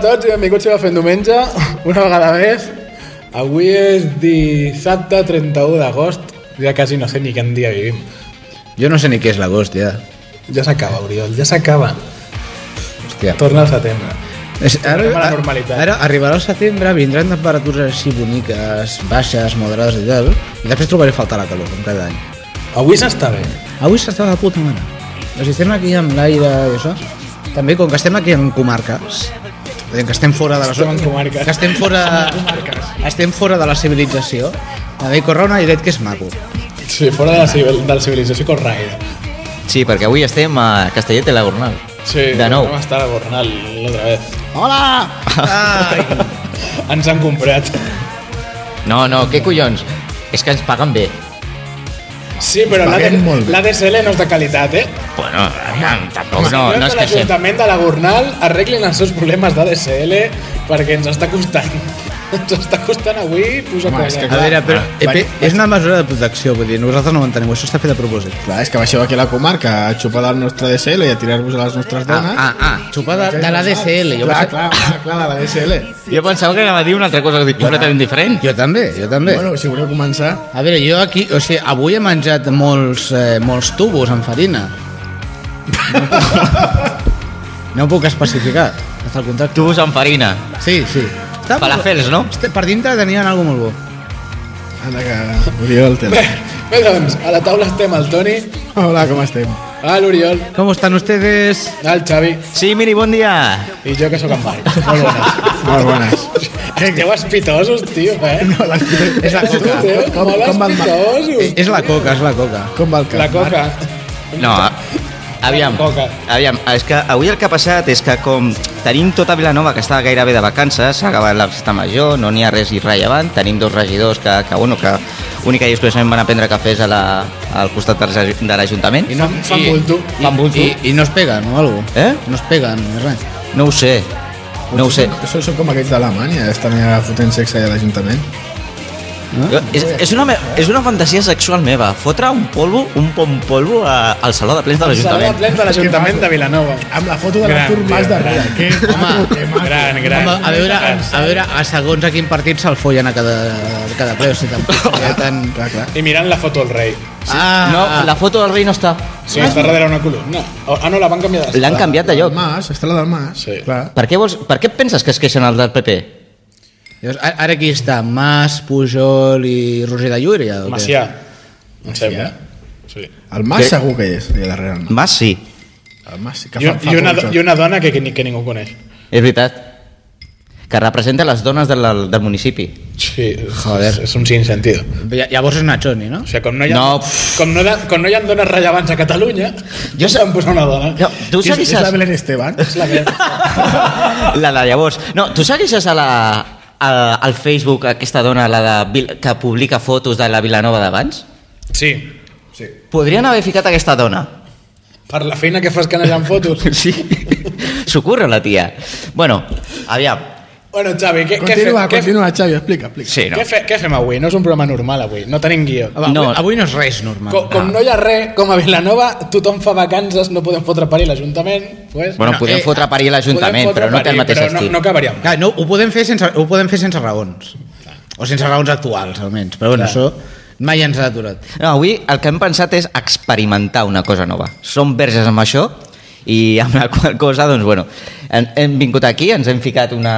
tots i benvinguts a Fent Diumenge, una vegada més. Avui és dissabte 31 d'agost, ja quasi no sé ni quin dia vivim. Jo no sé ni què és l'agost, ja. Ja s'acaba, Oriol, ja s'acaba. Hòstia. Torna al setembre. És, ara, Tornem a la ara- normalitat. Ara arribarà el setembre, vindran temperatures així boniques, baixes, moderades i tal, i després trobaré a faltar la calor, com cada any. Avui s'està bé. Avui s'està de puta mare. O sigui, estem aquí amb l'aire i això. També, com que estem aquí en comarques, eh, que estem fora de la Estem en comarques. que estem fora, estem fora de la civilització, també corre un airet que és maco. Sí, fora de la, civil, de la civilització corraire. Sí, perquè avui estem a Castellet de la Gornal. Sí, de nou. Vam estar a Gornal l'altra vegada. Hola! Ai, Ens han comprat. No, no, què collons? És que ens paguen bé. Sí, però la Paguem molt bé. l'ADSL no és de qualitat, eh? Bueno, aviam, tampoc no, Espero no és que que sé. l'Ajuntament de la Gornal arreglin els seus problemes d'ADSL perquè ens està costant. Ens està costant avui posar Home, és coses. A que clar. veure, però EP, Ah, vaig- és una mesura de protecció, vull dir, nosaltres no ho entenem, això està fet a propòsit. Clar, és que baixeu aquí a la comarca a xupar del nostre DSL i a tirar-vos a les nostres dones. Ah, ah, xupar de, de la ah, DSL. Jo, pensava- clar, clar, clar, clar, de la DSL. Jo pensava que anava a dir una altra cosa completament diferent. jo també, jo també. Bueno, si voleu començar... A veure, jo aquí, o sigui, avui he menjat molts, eh, molts tubos amb farina. No puc, no puc especificar, està el contracte. Tubos amb farina. Sí, sí. Està Falafels, no? Este- Per dintre tenien alguna molt bo. Anda, que... Oriol, te... Bé, bé, doncs, a la taula estem el Toni, Hola, com estem? a l'Oriol, Com estan ustedes? el Xavi Sí, miri, bon dia. i jo que sóc en Marc. Molt bones. Molt bones. Esteu espitosos, tio, eh? No, la... És la coca. Esteu Com- molt com va el Marc? Eh, espitosos. És la coca, és la coca. Com va el La cap? coca. No, a- aviam, Coca. aviam, és que avui el que ha passat és que com tenim tota Vilanova que està gairebé de vacances, s'ha acabat la festa major, no n'hi ha res irrellevant, tenim dos regidors que, que, bueno, que única i exclusivament van a prendre cafès a la, al costat de de l'Ajuntament. no, fan bulto, fan bulto. I, i, no es peguen o alguna Eh? No es peguen, ni res. No ho sé, no ho sé. Ah, Això són com aquells d'Alemanya, estan allà fotent sexe allà a l'Ajuntament. Jo- És, és, una, me- és una fantasia sexual meva, fotre un polvo, un bon polvo a, al Saló de Plens de Saló de l'Ajuntament. plens de l'Ajuntament de Vilanova. Amb la foto de Gran, l'Artur Mas tio, darrere. gran. Que maco, que maco. Gran, gran. eh. Home, a veure, a veure, a segons a quin partit se'l follen a cada, a cada ple, o sigui, tampoc seria tan... Clar, clar. I mirant la foto al rei. Ah, No, la foto del rei no està. Sí, Ah. està darrere una columna. Ah, no, la van canviar de L'han canviat de lloc. El Mas, està la del Mas. Sí. Clar. Per què, vols, per què et penses que es queixen el del PP? Llavors, a- ara aquí està Mas, Pujol i Roger de Llúria. o què? Macià, em sembla. Sí. El Mas segur que hi és, allà darrere. El Mas. Mas sí, El Mas, sí que I, fa, fa i, una, por, això. I una dona que, que, ni, que ningú coneix. és veritat. Que representa les dones del, del municipi. Sí, Joder. És, és un sinsentido. Lla- Llavors és Nachoni, no? O sigui, com no hi ha, No. com no, de- com no hi ha dones rellevants a Catalunya, Jo jo sé- sé... van posar una dona. No, tu És, és la segueixes... Belén Esteban. És la que... La de llavors. No, tu segueixes a la, a, al Facebook aquesta dona la de, Vil- que publica fotos de la Vilanova d'abans? Sí, Podrien haver ficat aquesta dona. per la feina que fas canejant fotos. Sí. S'ho curra la tia. Bueno, aviam. Bueno, Xavi, què, què, Continua, què, continua, Xavi, explica, explica. Sí, no. què, fe, què fem avui? No és un programa normal avui, no tenim guió. Va, avui, No. no. avui no és res normal. Ah. Com, com no hi ha res, com a Vilanova tothom fa vacances, no podem fotre parir a l'Ajuntament. Pues, Bueno, podem eh, fotre parir a podem l'Ajuntament, fotre però no té el parir, mateix però estil. No, no acabaríem. Clar, no, ho, podem fer sense, ho podem fer sense raons. O sense raons actuals, almenys. Però bueno, això mai ens ha aturat. No, avui el que hem pensat és experimentar una cosa nova. Som verges amb això i amb la qual cosa, doncs, bueno, hem, hem vingut aquí, ens hem ficat una...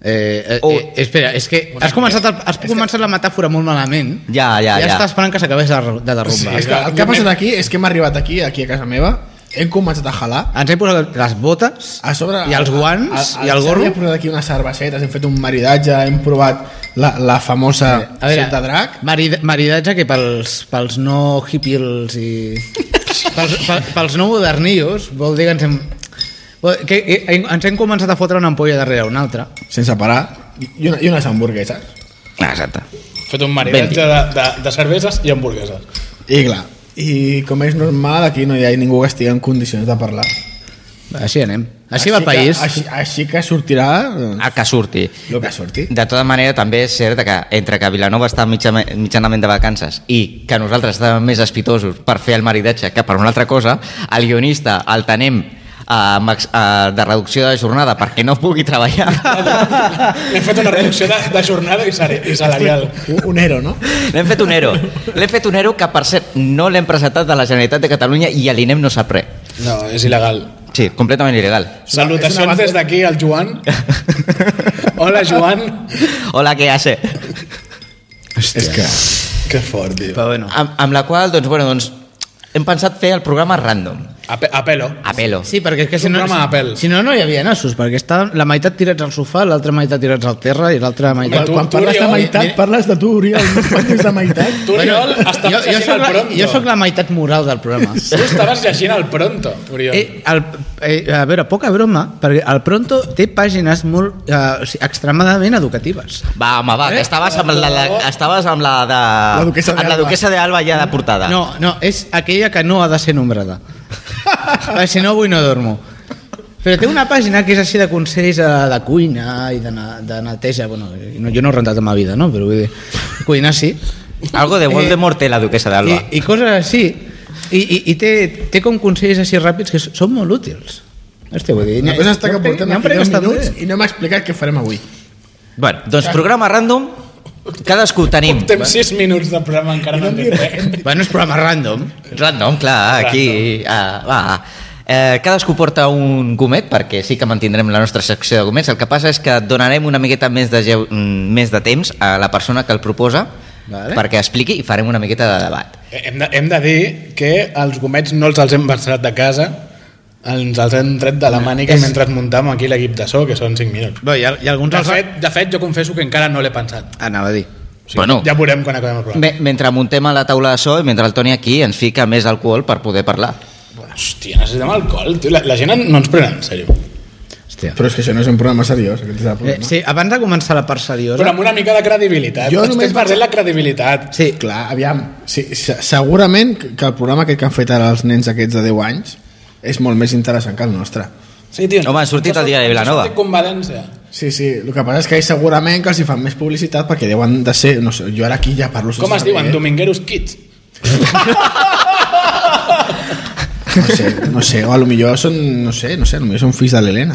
Eh, eh, O- eh, espera, és que has començat, el, has començat la metàfora molt malament. Ja, ja, ja. ja. està esperant que s'acabés de, de derrumbar. És que el que ha passat aquí és que hem arribat aquí, aquí a casa meva, hem començat a jalar, Ens hem posat les botes a sobre... i els guants a- a- i el Xavi gorro. Hem posat aquí unes cervesetes, hem fet un maridatge, hem provat la, la famosa A veure, set de drac. marid, maridatge que pels, pels no hippies i... pels, pels, pels no modernillos vol dir que ens hem... vol- Que eh, ens hem començat a fotre una ampolla darrere una altra. Sense parar, i, una, i unes hamburgueses. Ah, Exacte. Fet un maridatge de, de, de cerveses i hamburgueses. I clar, i com és normal, aquí no hi ha ningú que estigui en condicions de parlar. Així anem. Així, va el país. Ah. Que, així, així que sortirà doncs, El que surti. el que surti. De tota manera, també és cert que entre que Vilanova està mitja, mitjanament de vacances i que nosaltres estàvem més espitosos per fer el maridatge que per una altra cosa, el guionista el tenem eh, max- eh, de reducció de jornada perquè no pugui treballar. Hem fet una reducció de, de jornada i, sare- i salarial. Un, un ero, no? L'hem fet un ero. L'hem fet un ero que, per cert, no l'hem presentat de la Generalitat de Catalunya i l'INEM no sap res. No, és il·legal. Sí, completament il·legal. És una Salutacions banda- des d'aquí al Joan. Hola, Joan. Hola, què hace? És que... Que fort, tio. Però bueno. Amb, amb la qual, doncs, bueno, doncs, hem pensat fer el programa random. A, pe a pelo. A pelo. Sí, perquè és que És si un no, programa Apple. si no, no hi havia nassos, perquè està la meitat tirats al sofà, l'altra meitat tirats al terra i l'altra meitat... Quan, tu- quan tu, parles de Oriol, meitat, mira- parles de tu, Oriol. No parles de meitat. Tu, Oriol, estàs jo, jo, llegint soc el la, pronto. jo soc la meitat moral del programa. Tu estaves llegint el pronto, Oriol. Eh, el, eh, a veure, poca broma, perquè el Pronto té pàgines molt, eh, o sigui, extremadament educatives. Va, home, Eh? va, que estaves amb la, la, estaves amb la de... La duquessa de amb la Alba. duquessa d'Alba ja de portada. No, no, és aquella que no ha de ser nombrada. Perquè si no, avui no dormo. Però té una pàgina que és així de consells de, de cuina i de, na- de neteja. Bueno, no, jo no he rentat a ma vida, no? Però vull dir, cuinar sí. Algo de Voldemort té la duquessa d'Alba. Eh, I, I coses així. I, i, i té, té com consells així ràpids que s- són molt útils. Hòstia, vull dir... La cosa està que n'hi ha- portem n'hi ha un aquí parell que 10 estan minuts bé. i no hem explicat què farem avui. Bueno, doncs programa random, cadascú tenim... Portem 6 minuts de programa encara no hem dit res. Bueno, és programa random. Random, clar, aquí... Ah, va. Eh, cadascú porta un gomet perquè sí que mantindrem la nostra secció de gomets el que passa és que donarem una miqueta més de, geu, mm, més de temps a la persona que el proposa Vale. perquè expliqui i farem una miqueta de debat Eh, Hem de, hem de dir que els gomets no els, els hem versat de casa, ens els hem tret de la mànica És- mentre muntàvem aquí l'equip de so, que són 5 minuts. Bé, hi ha, hi ha alguns... De els- fet, de fet, jo confesso que encara no l'he pensat. Ah, Anava a dir. O sigui, Bueno. Ja veurem quan acabem el programa. Me, mentre muntem a la taula de so i mentre el Toni aquí ens fica més alcohol per poder parlar Hòstia, necessitem alcohol. Tio. La, la gent no ens pren en sèrio. Hòstia. Però és que això no és un programa seriós. Aquest és el Eh, problema. sí, abans de començar la part seriosa... Però amb una mica de credibilitat. Jo Jo només només- Estem perdent la credibilitat. Sí, Clar, aviam, sí, se- segurament que que el programa aquest que han fet ara els nens aquests de 10 anys és molt més interessant que el nostre. Sí, tio. Home, ha sortit el diari de Vilanova. Ha sortit Convalència. Sí, sí, el que passa és que ells segurament que els hi fan més publicitat perquè deuen de ser, no sé, jo ara aquí ja parlo sense Com es saber, diuen? eh? Domingueros Kids. No sé, no sé, o a lo millor són, no sé, no sé, a lo millor són fills de l'Helena.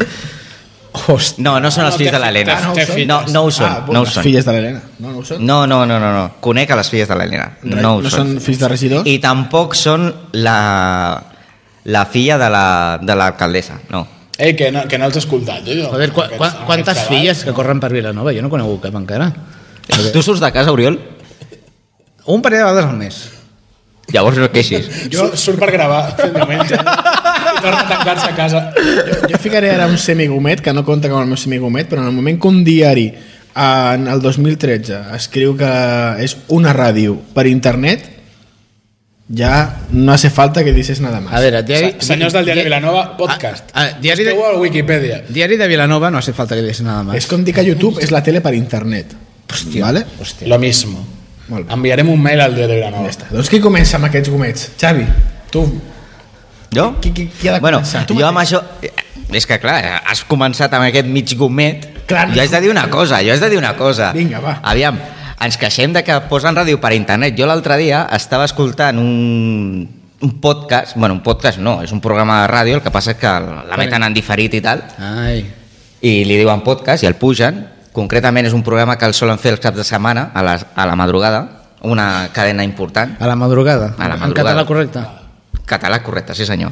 Hòstia. no, no són els fills de l'Helena Ah, no, que fi- no, no ho són, bo, no ho les són. filles de l'Helena, no, no ho són? No, no, no, no, no. Conec a les filles de l'Helena. No, ho no són fills de regidors? I tampoc són la, la filla de la- de l'alcaldessa, la, no. Ei, Eh, que no, que no els he escoltat, jo. jo. Joder, qua, Aquests- qua, aquests quantes xavals. filles que corren per Vilanova? Jo no conec cap encara. Tu surts de casa, Oriol? Un parell de vegades al mes. Llavors no et queixis. Jo surt per gravar fent diumenge. I torna a tancar-se a casa. Jo ficaré ara un semigomet, que no compta com el meu semigomet, però en el moment que un diari en el 2013 escriu que és una ràdio per internet, ja no hace falta que dices nada más. A veure, diari... Senyors del Diari di- Vilanova, podcast. Ah, ah, diari, Esteu de, a Wikipedia. diari de Vilanova no hace falta que digués nada És más. com dir que YouTube és la tele per internet. Hòstia. Vale? Hòstia. Lo mismo. Molt bé. Enviarem un mail al Diari de Vilanova. Ja està. Doncs qui comença amb aquests gomets? Xavi, tu. Jo? Qui- qui- qui ha de bueno, començar? Tu jo amb això... eh, És que, clar, has començat amb aquest mig gomet. Clar, no jo haig de dir una cosa, jo haig de dir una cosa. Vinga, va. Aviam, ens queixem de que posen ràdio per internet. Jo l'altre dia estava escoltant un, un podcast, bueno, un podcast no, és un programa de ràdio, el que passa és que l'emeten en diferit i tal, Ai. i li diuen podcast i el pugen. Concretament és un programa que el solen fer els caps de setmana, a la, a la madrugada, una cadena important. A la madrugada. A la En madrugada. català correcte. Ah. Català correcte, sí senyor.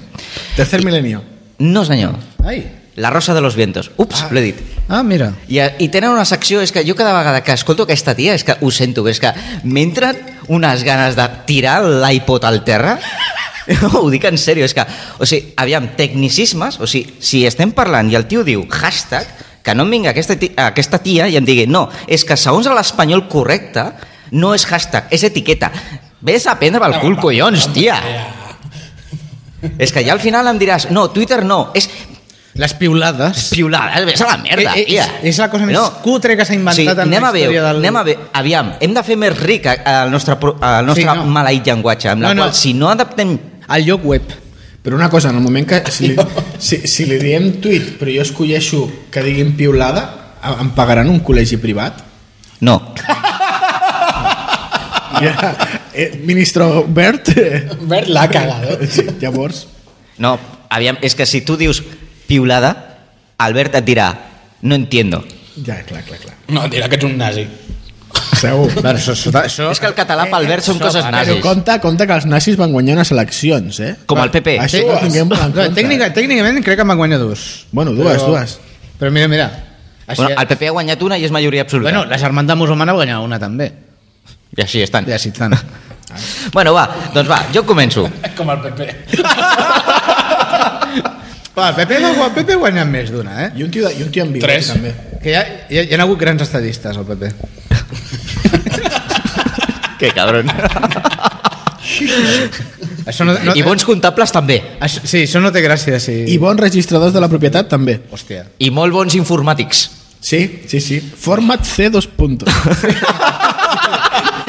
Tercer milenio. No senyor, Ai. La Rosa de los Vientos. Ups, ah. l'he dit. Ah, mira. I, eh, I tenen una secció, és que jo cada vegada que escolto aquesta tia, és que ho sento, és que m'entren unes ganes de tirar l'iPod al terra, ho dic en sèrio, és que, o sigui, aviam, tecnicismes, o sigui, si estem parlant i el tio diu hashtag, que no em vingui aquesta tia, aquesta tia i em digui, no, és que segons l'espanyol correcte, no és hashtag, és etiqueta. Ves a prendre pel cul, collons, tia. És que ja al final em diràs, no, Twitter no, és Les piulades. piulades, ves a la merda, Eh, eh, tia. és- és la cosa més cutre que s'ha inventat en la anem a veure, història del- Anem a veure, aviam, hem de fer més ric eh, el nostre, pro- el nostre Sí, sí, no. no. maleït llenguatge, amb la No, no, no. qual, no. si no adaptem... Al lloc web. Però una cosa, en el moment que... Si li, si, si li diem tuit, però jo escolleixo que diguin piulada, em- em pagaran un col·legi privat? No, Ja, eh, ministro Bert... eh, Bert l'ha cagat. Sí, llavors... no, aviam, és que si tu dius piulada, Albert et dirà, no entiendo. Ja, clar, clar, clar. No, dirà que ets un nazi. Segur. Bueno, això, això, això... És que el català pel Albert són això, coses ara, Però nazis. compte, compte que els nazis van guanyar unes eleccions, eh? Com el PP. Això ho Dues. tinguem molt en Clar, compte. tècnica, tècnicament crec que em van guanyar dos. Bueno, dues, Però- dues. Però mira, mira. Així, Bueno, el PP ha guanyat una i és majoria absoluta. bueno, la germanda musulmana va guanyar una també. I així estan. Ja, sí, tant. Bueno, va, doncs va, jo començo. Com el PP. Va, el PP, va, el PP guanyat més d'una, eh? I un tio, de, i un tio amb bigotis, Tres. també. Que hi ha, hi, ha, hi ha hagut grans estadistes al PP. Que cabron. Això no, eh. no, I bons comptables també. Això, sí, això no té gràcia, sí. I bons registradors de la propietat, també. Hòstia. I molt bons informàtics. Sí, sí, sí. Format C dos puntos.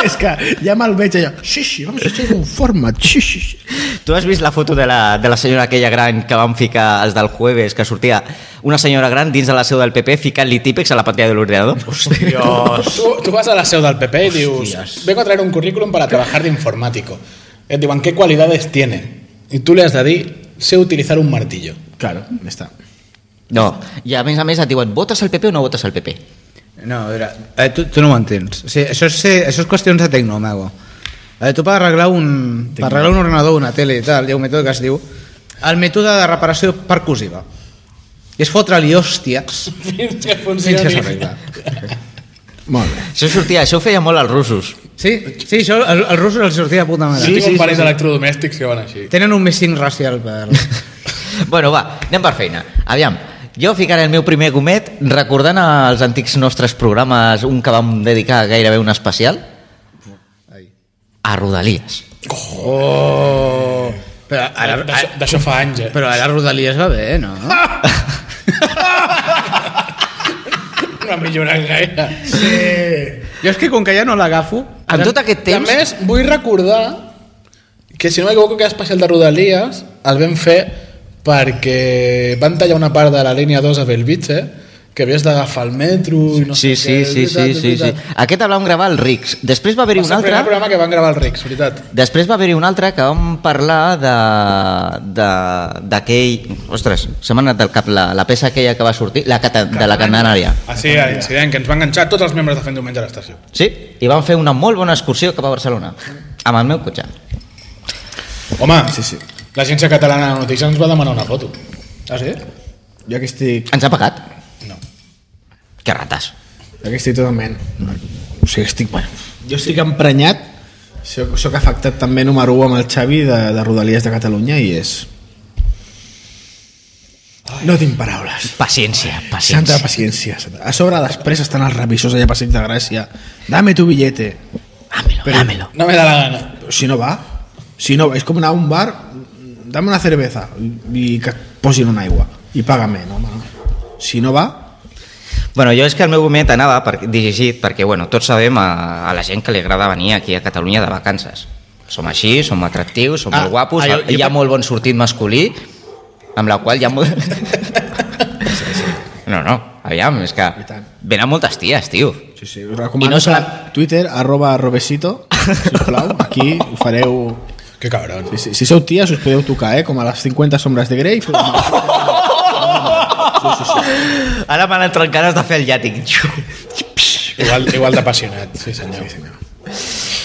és que ja me'l veig allò. Sí, sí, vamos a hacer un format. Sí, sí, sí. Tu has vist la foto de la, de la senyora aquella gran que van ficar els del jueves, que sortia una senyora gran dins de la seu del PP ficant-li típics a la pantalla de l'ordinador? Dios. Tú, tú vas a la seu del PP y dius, vengo a traer un currículum para trabajar de informático. Et diuen, ¿qué cualidades tiene? Y tú le has de dir, sé utilizar un martillo. Claro, ja està. No. I a més a més et diuen, votes al PP o no votes al PP? No, a veure, eh, tu, tu no ho entens. O sigui, això, és, ser- això és qüestions de tecno, mago. Eh, tu per arreglar, un, per arreglar un ordenador, una tele i tal, hi ha un mètode que es diu el mètode de reparació percussiva. I és fotre-li hòsties Fins que fins que funcioni. s'arregla. Molt bé. Això sortia, això ho feia molt als russos. Sí, sí, això el- als russos els sortia de puta mare. Sí, Sí, sí, sí, un sí, parell sí. d'electrodomèstics que van així. Tenen un més 5 racial per... Bueno, va, anem per feina. Aviam, jo ficaré el meu primer gomet recordant els antics nostres programes, un que vam dedicar gairebé un especial, a Rodalies. Oh! Però ara, D'això- D'això fa anys, eh? però ara Rodalies va bé, no? No ha millorat gaire. Jo és que com que ja no l'agafo... Amb tot aquest Temps... temps... A més, vull recordar que, si no m'equivoco, que especial de Rodalies el vam fer perquè van tallar una part de la línia 2 a Belvitge, que havies d'agafar el metro i no Sí, sé sí, què. sí, és veritat, sí, és sí, sí. veritat. Aquest el vam gravar al Rix. Després va Va haver-hi un ser el primer altre... programa que van gravar el Rex, veritat. Després va haver-hi un altre que vam parlar de... de- d'aquell... Ostres, se m'ha anat del cap la, la peça aquella que va sortir, la cata, de la Canària. Ah, sí, l'incident, que ens va enganxar tots els membres de Fent Diumenge a l'estació. Sí, i vam fer una molt bona excursió cap a Barcelona, amb el meu cotxe. Home, sí, sí. l'Agència Catalana de Notícies ens va demanar una foto. Ah, sí? Jo que estic, Ens ha pagat? No. Que rates. jo que estic totalment... O sigui, estic... Bueno, jo estic emprenyat. Soc, soc afectat també número 1 amb el Xavi de, de Rodalies de Catalunya i és... No tinc paraules. Paciència, Santa paciència. paciència. Santa. A sobre després estan els revisors allà a passeig de Gràcia. Dame tu billete. Dámelo, Però- dámelo. No me da la gana. Si no va, si no, és com anar a un bar, dame una cerveza i que et posin una aigua i paga'm, no, home, no. Si no va, Bueno, jo és que el meu gomet anava per, dirigit perquè, bueno, tots sabem a, a la gent que li agrada venir aquí a Catalunya de vacances. Som així, som atractius, som Ah, molt guapos, ah, ah, jo- hi ha jo- molt bon sortit masculí, amb la qual hi ha molt... No, no, aviam, és que I tant. venen moltes ties, tio. sí, sí, us recomano I no no serà- serà... Twitter, arroba robesito, sisplau, aquí ho fareu... Que cabron. Si, si, si sou ties us podeu tocar, eh? Com a les 50 sombres de Grey. Però... Ara m'han entrat ganes de fer el llàtic. Igual, igual d'apassionat, sí senyor. Sí, senyor.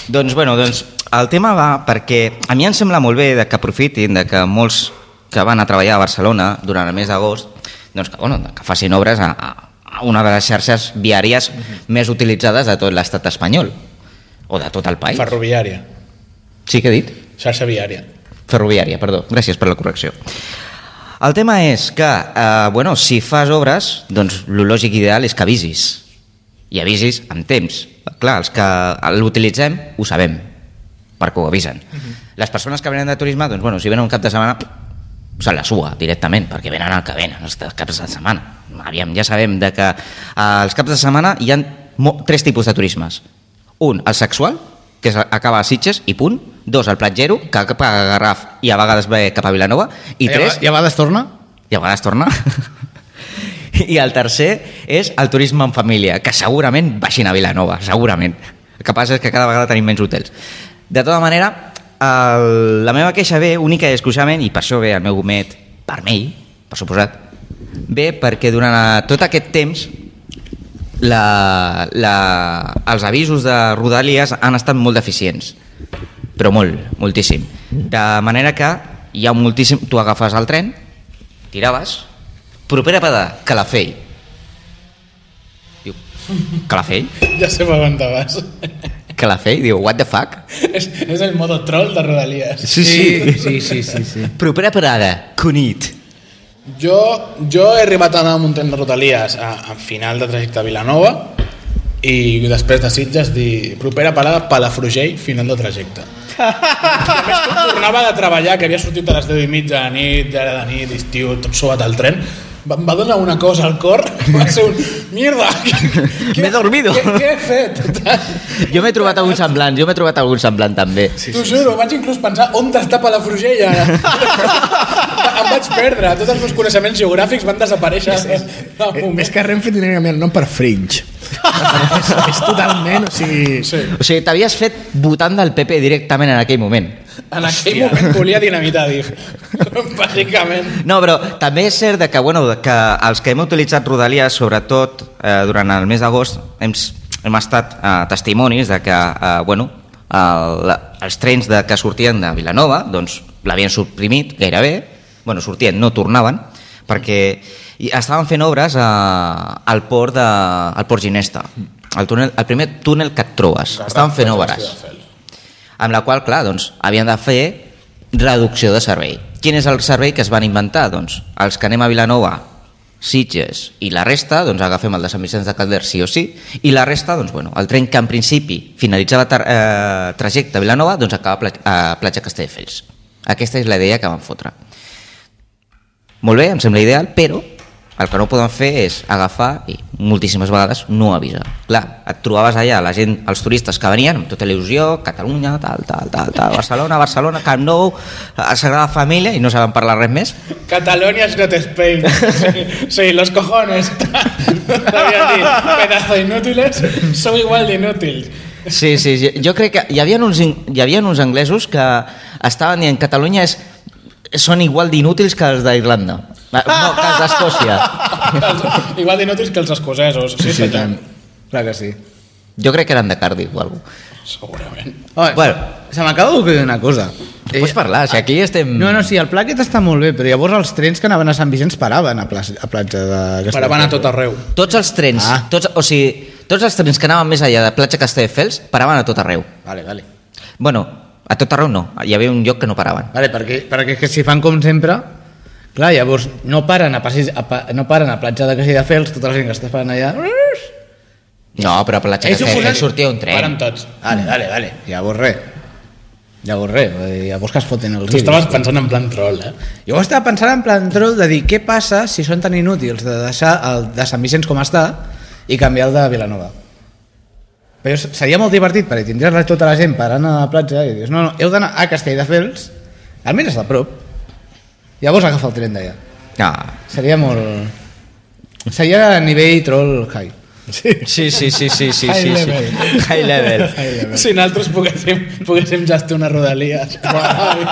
Doncs, bueno, doncs, el tema va perquè a mi em sembla molt bé de que aprofitin de que molts que van a treballar a Barcelona durant el mes d'agost doncs que, bueno, que facin obres a, a- a una de les xarxes viàries més utilitzades de tot l'estat espanyol o de tot el país. Ferroviària. sí que he dit? Xarxa viària. Ferroviària, perdó. Gràcies per la correcció. El tema és que, eh, bueno, si fas obres, doncs el lògic ideal és que avisis. I avisis amb temps. Clar, els que l'utilitzem ho sabem, perquè ho avisen. Mhm. Les persones que venen de turisme, doncs, bueno, si venen un cap de setmana, se la sua directament, perquè venen al que venen, els caps de setmana. Aviam, ja sabem de que eh, els caps de setmana hi ha mo- tres tipus de turismes. Un, el sexual, que és- acaba a Sitges i punt. Dos, el platgero, que acaba a Garraf i a vegades ve cap a Vilanova. I ja, tres, Ja va d'estorna? i a vegades torna. I el tercer és el turisme en família, que segurament baixin a Vilanova, segurament. El que passa és que cada vegada tenim menys hotels. De tota manera, el, la meva queixa ve única i exclusivament, i per això ve el meu gomet vermell, per suposat, ve perquè durant tot aquest temps la, la, els avisos de Rodalies han estat molt deficients però molt, moltíssim de manera que hi ha moltíssim tu agafes el tren, tiraves propera parada, Calafell diu Calafell? Ja sé per on te vas. Calafell? Diu, what the fuck? és, és el modo troll de Rodalies. Sí, sí, sí, sí, sí, sí. propera parada, Cunit Jo, jo he arribat a anar amb un tren de Rodalies a, a final de trajecte a Vilanova i després de Sitges dir propera parada Palafrugell, final de trajecte. I a més, quan tornava de treballar, que havia sortit a les 10 i mitja de nit, d'ara de nit, d'estiu, tot sobat al tren, va- em va donar una cosa al cor, va ser un... Mierda! què- M'he dormido." Què, què he fet? jo m'he trobat algun semblant, jo m'he trobat algun semblant també Sí, T'ho juro, vaig inclús pensar on està Palafrugell ara. em vaig perdre, tots els meus coneixements geogràfics van desaparèixer. Sí, Eh, Més que Renfe tindria que canviar el nom per Fringe. és, és totalment, o sigui... Sí. O sigui, t'havies fet votant del PP directament en aquell moment. En aquell moment volia dinamitar DIF. Bàsicament. No, però també és cert de que, bueno, de que els que hem utilitzat Rodalies, sobretot eh, durant el mes d'agost, hem, s- hem estat eh, testimonis de que eh, bueno, el, els trens de, que sortien de Vilanova doncs, l'havien suprimit gairebé, bueno, sortien, no tornaven, perquè i estaven fent obres eh, al port de, al port Ginesta, el, túnel, el primer túnel que et trobes. Estaven fent obres amb la qual, clar, doncs, havien de fer reducció de servei. Quin és el servei que es van inventar? Doncs, els que anem a Vilanova, Sitges i la resta, doncs agafem el de Sant Vicenç de Calder sí o sí, i la resta, doncs, bueno, el tren que en principi finalitzava tar- eh, trajecte a Vilanova, doncs acaba a Pla- a Platja Castelldefels. Aquesta és la idea que van fotre. Molt bé, em sembla ideal, però el que no poden fer és agafar i moltíssimes vegades no avisar. Clar, et trobaves allà la gent, els turistes que venien amb tota la il·lusió, Catalunya, tal, tal, tal, tal, Barcelona, Barcelona, Camp Nou, a Sagrada Família, i no saben parlar res més. Catalonia es not Spain. Sí, sí, los cojones. T'havia dit, pedazo de inútiles, sou igual de inútils. Sí, sí, sí, jo crec que hi havia uns, in- hi havia uns anglesos que estaven dient Catalunya és, són igual d'inútils que els d'Irlanda. Ah, No, que els d'Escòcia. igual de inútils que els escocesos. Sí, sí, tant. Clar que sí. Jo crec que eren de Cardiff o alguna cosa. Segurament. Home, Bueno. bueno. se m'acaba d'ocultar una cosa. Pots parlar, si aquí estem... Eh, No, no, sí, el pla aquest està molt bé, però llavors els trens que anaven a Sant Vicenç paraven a, plaça, a platja de... Castell. Paraven a tot arreu. Tots els trens, ah. Ah. tots, o sigui, tots els trens que anaven més allà de platja Castelldefels paraven a tot arreu. Vale, vale. Bueno, a tot arreu no, hi havia un lloc que no paraven. Vale, perquè, perquè és que si fan com sempre... Clar, llavors no paren a, passis, a, pa- no paren a platja de Castelldefels, tota la gent que està parant allà... No, però a platja És un Castelldefels posat- sortia un Paren tren. tots. Vale, vale, vale. Llavors res. Llavors res, vull dir, llavors que es foten els Tu estaves pensant en plan troll, eh? Jo ho estava pensant en plan troll de dir què passa si són tan inútils de deixar el de Sant Vicenç com està i canviar el de Vilanova. Però s- seria molt divertit perquè tindries la- tota la gent parant a la platja i dius no, no, heu d'anar a Castelldefels, almenys és a prop, llavors agafa el tren d'allà. No. Seria molt... Seria a nivell troll high. Sí, sí, sí, sí, sí, High sí, sí. level. High level. Si nosaltres poguéssim, poguéssim gestionar rodalies. Ai,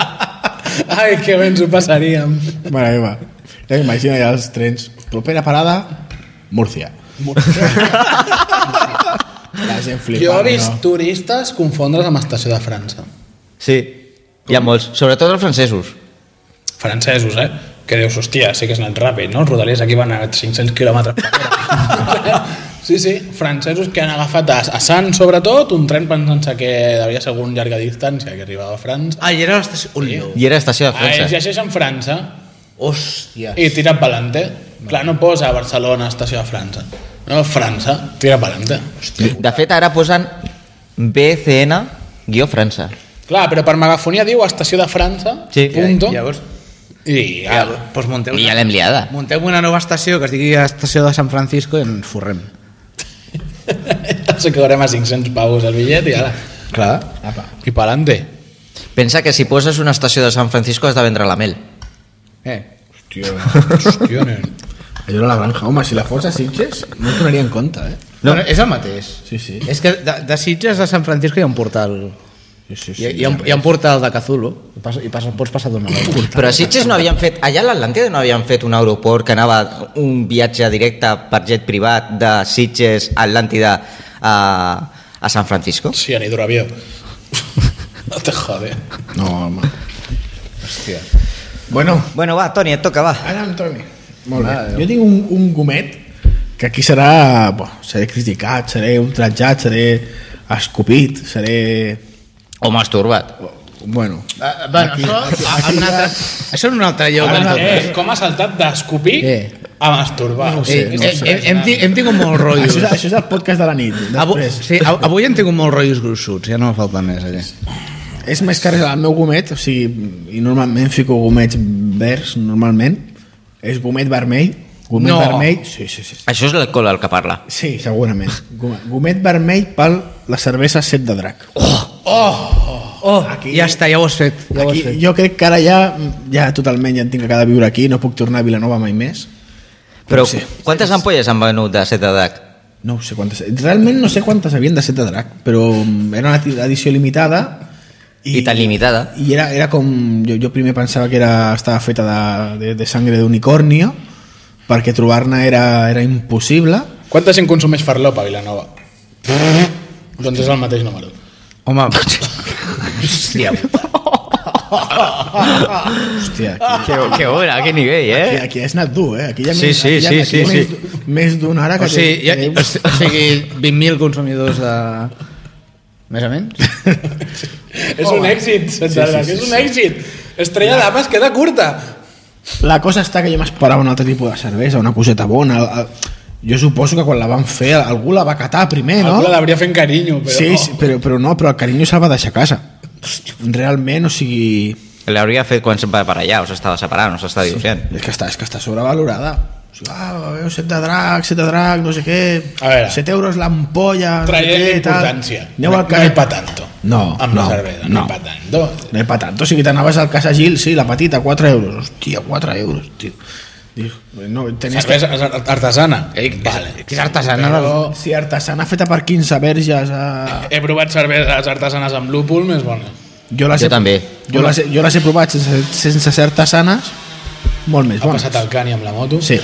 ai, que bé ens ho passaríem. Mare meva. Ja m'imagino ja els trens. Propera parada, Múrcia. La gent flipa. Jo he vist turistes confondre's amb Estació de França. Sí, hi ha molts, sobretot els francesos. Francesos, eh? Que dius, hòstia, sí que has anat ràpid, no? Els rodalies aquí van a 500 km per hora. Sí, sí, francesos que han agafat a, a Sant, sobretot, un tren pensant-se que devia ser algun llarga distància que arribava a França. Ah, i era l'estació... Un sí. I era estació de Ah, es França. llegeix en França Hòstia. i tira pelante. Clar, no posa Barcelona, Estació de França. No, França, tira pelante. De fet, ara posen BCN guió França. Clar, però per megafonia diu Estació de França, Sí. punto, Llavors, i ja, llavors doncs munteu, I ja l'hem liada. munteu una nova estació que es digui Estació de San Francisco i ens forrem. se quedarem a 500 pavos el bitllet i ara. Clar. I pelante. Pensa que si poses una estació de San Francisco has de vendre la mel. Eh. Hòstia. Hòstia, nen. Allò era la granja. Home, si la força Sitges, no ho donaria en compte, eh? No. Bueno, és el mateix. Sí, sí. És que de, de Sitges a San Francisco hi ha un portal Sí, sí, Hi ha, hi ha, un, hi ha un portal de Cthulhu i, passa, i passa, pots passar d'una hora. Però a Sitges no havien fet, allà a l'Atlàntida no havien fet un aeroport que anava un viatge directe per jet privat de Sitges, Atlàntida, a, a San Francisco? Sí, a Nidor avió. no te jode. No, home. Hòstia. Bueno, Bueno, va, Toni, et toca, va. Ara, Antoni. Molt bé. jo tinc un, un gomet que aquí serà... Bo, seré criticat, seré ultratjat, seré escopit, seré... O masturbat. Bueno, Ah, bueno, aquí, això, aquí, aquí, en un altre, això en un altre lloc. Ara, Ara, eh, com ha saltat d'escopir Eh. a masturbar. No eh, eh, eh, hem, ti- hem tingut molts rotllos. això és, això és el podcast de la nit. Avui, Després. Ah, sí, av- avui hem tingut molts rotllos gruixuts, ja no me falta més. Allà. És més que res el meu gomet, o sigui, i normalment fico gomets verds, normalment, és gomet vermell, gomet No. vermell, sí, sí, sí, Això és l'alcohol el que parla. sí, segurament, gomet, gomet vermell pel la cervesa set de drac. Oh, aquí, ja està, ja ho has fet. Ja ho has Aquí, fet. jo crec que ara ja, ja totalment ja en tinc que quedar a viure aquí, no puc tornar a Vilanova mai més. Però Sí. quantes ampolles han venut de set d'edat? No ho sé quantes... Realment no sé quantes havien de set de drac, però mm, era una ti- edició limitada I tan limitada. I era, era com... Jo, jo primer pensava que era, estava feta de, de, de sangre d'unicornio, perquè trobar-ne era, era impossible. Quanta gent consumeix farlopa a Vilanova? doncs és el mateix número. Home, Hòstia, Hòstia, aquí, que, que bona, que nivell, aquí, eh? aquí has anat dur, eh? Aquí hi ha Ah. Sí, més, sí, aquí sí, hi ha- aquí hi ha sí, més, sí. du- Més d'una hora que... o sigui, ja, que- o si- o sigui 20.000 consumidors de... Més o menys? És un èxit, sí, sí, sí, és un èxit. Estrella d'ama es queda curta. La cosa està que jo m'esperava un altre tipus de cervesa, una coseta bona... El, el, jo suposo que quan la van fer algú la va catar primer, No? no? Algú l'hauria fent carinyo, però... Sí, sí però, però no, però el carinyo se'l va deixar a casa. Realment, o sigui... L'hauria fet quan se'n va per allà, us estava separant, us estava divorciant. És que està, és que està sobrevalorada. O sigui, ah, veu, set de drac, set de drac, no sé què... A veure. 7 euros l'ampolla... no sé Traient què, tal. importància. Aneu no, no al hi carrer... pa tanto. No, amb no, la cervesa, no. no, hi pa tanto. No hi pa tant. O sigui, t'anaves al Casa Gil, sí, la petita, 4 euros. Hòstia, 4 euros, tio. Dius, no, tenies que... Cervesa artesana. Vale. Que és artesana. Però... Si artesana feta per 15 verges... A... He provat cerveses artesanes amb lúpul més bones. Jo, les Jo també. Jo les, he- jo les he provat sense, sense ser artesanes, molt més Ha bones. passat el cani amb la moto. Sí,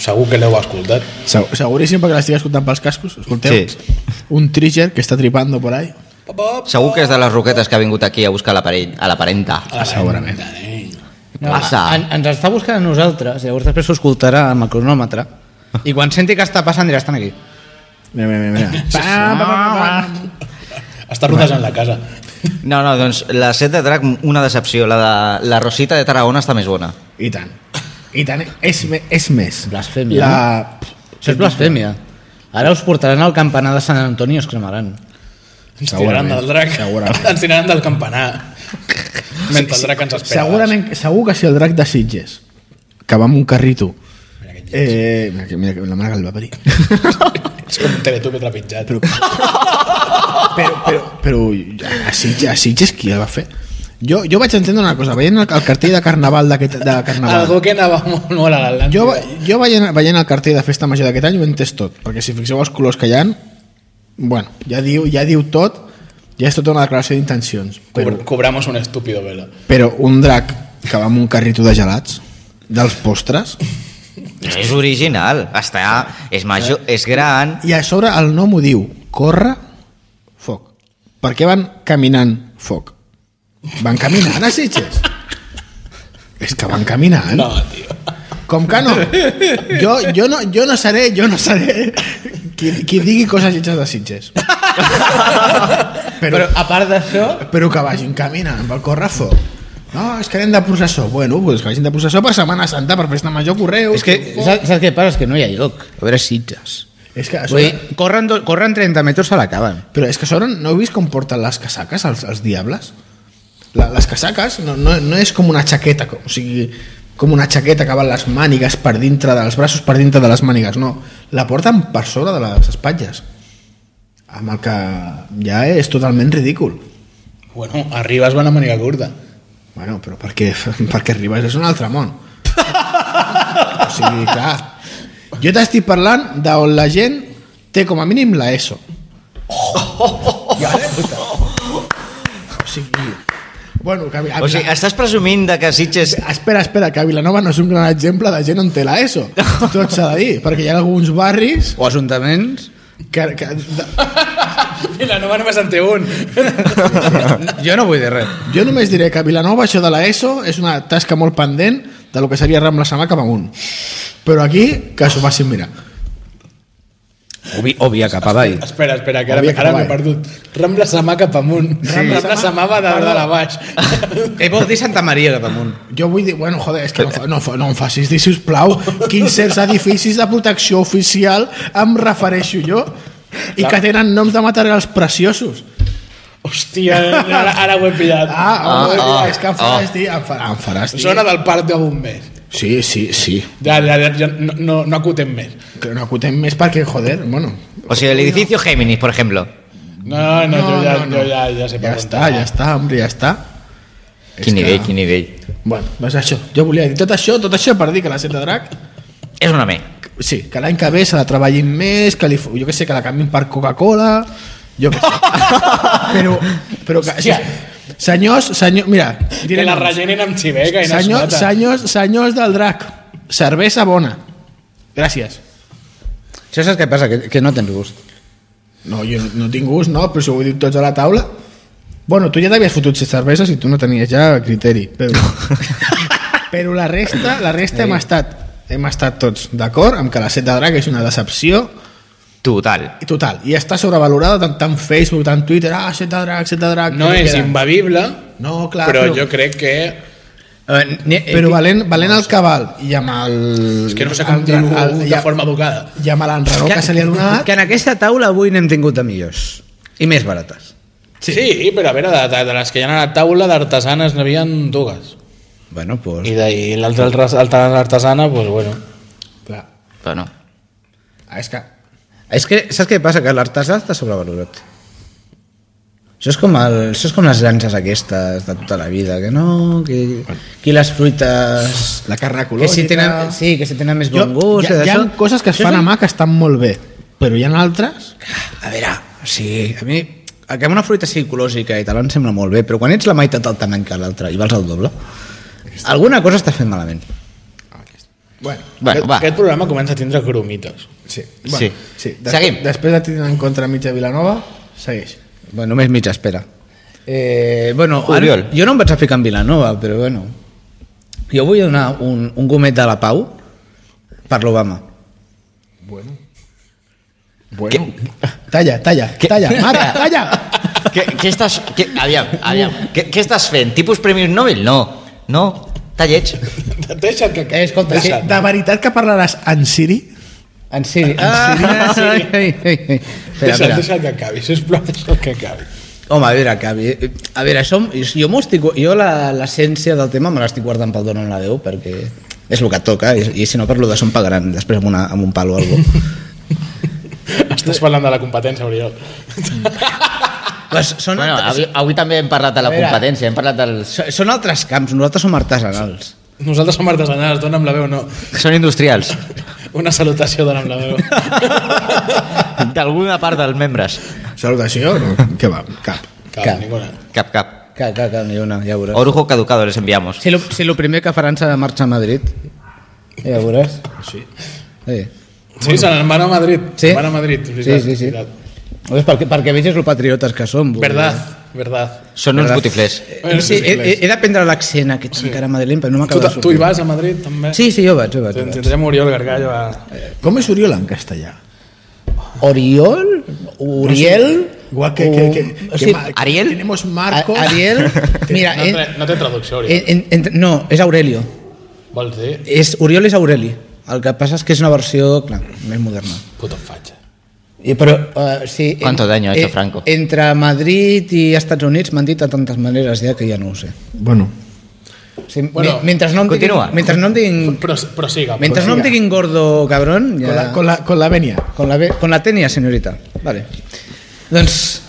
Segur que l'heu escoltat. Segu- seguríssim perquè l'estic escoltant pels cascos. Escolteu, Sí. un trigger que està tripando por ahí. Segur que és de les roquetes que ha vingut aquí a buscar la parell, a la parenta. Ah, segurament. eh. Passa. a- En, ens està buscant a nosaltres, llavors després s'ho escoltarà amb el cronòmetre, i quan senti que està passant dirà, estan aquí. Mira, mira, mira. mira. Pam, pam, pam, pam. Està rodejant la casa. No, no, doncs la set de drac, una decepció. La, de, la Rosita de Tarragona està més bona. I tant. I tant, és, me, és més. Blasfèmia, La... Això és blasfèmia. Ara us portaran al campanar de Sant Antoni i us cremaran. Ens tiraran Segurament, del drac. segurament. Ens tiraran del campanar. Mentre el drac ens espera. Segurament, segur que si el drac de Sitges, que va amb un carrito, eh, mira, que- mira, que la mare que el va parir. És com un teletubi trepitjat. Però, però, però, però a, Sitges, a Sitges qui el va fer? Jo, jo vaig entendre una cosa, veient el, el cartell de carnaval d'aquest de carnaval. Algú que anava molt, molt a l'Atlàntic. Jo, va- jo veient, veient el cartell de festa major d'aquest any ho he entès tot, perquè si fixeu els colors que hi ha, bueno, ja diu, ja diu tot, ja és tota una declaració d'intencions. Però, Cobr cobramos un estúpido velo. però un drac que va amb un carrito de gelats, dels postres, És original, està, és major, és gran. i a sobre el nom ho diu, corre, foc. Per què van caminant foc? Van caminant a Sitges. És que van caminant. No, tio. Com que no? Jo, jo, no, jo no seré, jo no seré qui, qui digui coses lletges de Sitges. Però, Però a part d'això, però que vagin caminant pel correfoc. No, és que anem de processó. Bueno, pues que vagin de processó per Setmana Santa, per Festa Major, Correus... és que, saps, saps què passa? És que no hi ha lloc. A veure Sitges. És que, a Vull sobre, dir, corren, do, corren 30 metres se l'acaben. però és que a sobre no heu vist com porten les casaques els, els diables? La, les casaques no, no, no és com una xaqueta, com, o sigui, com una xaqueta que van les mànigues per dintre dels braços, per dintre de les mànigues, no. La porten per sobre de les espatlles. Amb el que ja és totalment ridícul. Bueno, arribes van a màniga curta. Bueno, però perquè, perquè arribes és un altre món. o sigui, clar. Jo t'estic parlant d'on la gent té com a mínim la ESO. eh? sigui... Bueno, que, a, O sigui, eh, estàs presumint de que Sitges... Espera, espera, que a Vilanova no és un gran exemple de gent on té l'ESO. Tot s'ha de dir, perquè hi ha alguns barris O ajuntaments. que, que de- Vilanova només en té un. Jo no vull dir res. jo només diré que a Vilanova això de l'ESO és una tasca molt pendent de lo que seria Rambla Samà cap amunt. Però aquí, que s'ho facin mirar. Obvi, òbvia cap avall. espera, espera, que ara, Hauria ara m'he acabat. perdut. Rambla Samà cap amunt. Rambla Samà va de, de la baix. Eh, vol dir Santa Maria cap amunt. Jo vull dir, bueno, joder, és que Eh, no, fa- no, fa- no em facis dir, sisplau, quins certs edificis de protecció oficial em refereixo jo i que tenen noms de materials preciosos. Hòstia, ara, ara ho he pillat. Ah, Ah, oh, oh, ah, és que em faràs dir, em faràs, em faràs dir. Zona del parc de bombers. Sí, sí, sí. Ja, ja, ja, ja no, no, no acotem més. Que no acotem més perquè, joder, bueno... O sigui, el edificio Géminis, por ejemplo. No, no, jo, ja, jo ja, ja sé per Ja on està, va. ja està, hombre, ja està. Quin És nivell, que- quin nivell. Bueno, doncs això, jo volia dir tot això, tot això per dir que la set de drac És una me. sí, que l'any que ve se la treballin més, que li, fo- jo que sé, que la canvin per Coca-Cola, jo que sé. però, però que, sí, Hòstia. senyors, senyor, mira, Que diré la noms. rellenin amb xiveca i no Senyor, es nota. senyors, senyors del drac, cervesa bona. Gràcies. Això saps què passa? Que, que no tens gust. No, jo no, no tinc gust, no, però si ho he dit tots a la taula... Bueno, tu ja t'havies fotut set cerveses i tu no tenies ja criteri, però... però la resta, la resta hem estat hem estat tots d'acord amb que la set de drac és una decepció Total. I Total, i està sobrevalorada tant, tant Facebook, tant Twitter, ah, set de drac, set de drac... No que és queden. imbevible, No, clar, però jo crec que... Eh, ni- eh, però valent, valent el cabal i amb el... És que no sé com dir-ho de forma educada. I amb l'enredó que se li ha donat... Que en aquesta taula avui n'hem tingut de millors. I més barates. Sí, sí però a veure, de, de, de les que hi ha a la taula d'artesanes n'hi havia dues. Bueno, pues... I d'ahir l'altra altra artesana, doncs pues bueno. Clar, Però no. ah, és que... És que, saps què passa? Que l'artesà està sobrevalorat. Això és, com el, això és com les llances aquestes de tota la vida, que no, que, que les fruites... La carn Que ecològica... si tenen, sí, que si tenen més bon gust... hi, ha, hi ha això. coses que es Això fan és a un- mà que estan molt bé, però hi ha altres... A veure, o sigui, a mi que amb una fruita sigui ecològica i tal em sembla molt bé, però quan ets la meitat del tamany que l'altre i vals al doble, alguna cosa està fent malament. Bueno, Bueno, va. Aquest programa comença a tindre cromites. sí. Sí. Després, Seguim. Després de tenir en contra mitja Vilanova, segueix. Bueno, només mitja espera. Eh, bueno, Oriol. Ara, jo no em vaig a ficar en Vilanova, però bueno. Jo vull donar un, un gomet de la pau per l'Obama. Bueno. Talla, talla, talla, mare, talla! Què, què estàs... Què, aviam, aviam. Què, què estàs fent? Tipus Premis Nobel? No. No. Està lleig. Deixa't que... Eh, escolta, De, sí. de veritat que parlaràs en Siri? En Siri. Ah, en Siri. Ai, ai, ai. Espera, Deixa't, espera. deixa't que acabi, sisplau, deixa't que acabi. Home, a veure, que, a veure això, jo, m'ho estic, jo la- l'essència del tema me l'estic guardant pel dono en la veu perquè és el que toca i, i si no parlo de son pagaran després amb, una, amb un palo o alguna Estàs parlant de la competència, Oriol. pues són, Bueno, altres, avui, avui també hem parlat de la Mira. competència, hem parlat dels... so- són altres camps, nosaltres som artesanals. Nosaltres som artesanals, dona'm la veu, no. Són industrials. Una salutació, dona'm la veu. D'alguna part dels membres. Salutació? No. Què va? Cap. Cap, Cap. ninguna. Cap, cap. Que, que, que, ni una, ja veuràs. Orujo caducado les enviamos. Si lo, si lo primer que faran serà marxar a Madrid, ja veuràs. Sí. Sí. Sí, se n'en van a Madrid. Sí? Van a Madrid, és Sí, veritat. sí, sí. veritat. Pues perquè, perquè vegis el patriotes que som. vull dir. Verdad, verdad. Són uns botiflers. Eh, Sí, he, he, he d'aprendre l'accent aquest sí. encara madrileny, però no Tu, m'acaba de ta- tu sortir. hi vas a Madrid, també? Sí, sí, jo vaig, jo vaig. Jo vaig. Tindrem Oriol Gargallo a... Com és Oriol en castellà? Oriol, Uriel, Igual que... que, que, o- que, sí, ma- Ariel? Tenemos Marcos... A- Ariel, mira, eh? No, en, té, no té traducció, Oriol. en, en, no, és Aurelio. Vols dir? És, Oriol és Aureli. El que passa és que és una versió, clar, més moderna. Puto fatxa. I, però, uh, sí, en- ¿Cuánto daño ha hecho eh, Franco? Entre Madrid i Estats Units m'han dit de tantes maneres ja que ja no ho sé. Bueno, Sí, Bueno, bueno, mentre no em diguin, continua. mentre no em diguin, Però, però siga. mentre no em diguin gordo cabrón, con, la, ja, con, la, con la venia. Con la, B- con la tenia, senyorita. Vale. Doncs...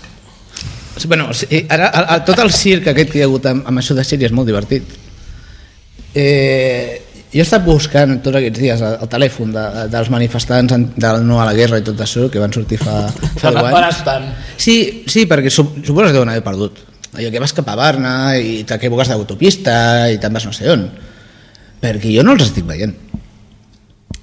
Bueno, sí, ara, a, a, tot el circ aquest que hi ha hagut amb, amb això de sèrie és molt divertit. Eh, jo he estat buscant tots aquests dies el, el telèfon de, dels manifestants en- del no a la guerra i tot això que van sortir fa, fa Fa deu van anys. estant. Sí, sí, perquè sup suposo que deuen haver perdut. allò que vas cap a Barna i t'equivoques d'autopista i te'n vas no sé on. Perquè jo no els estic veient.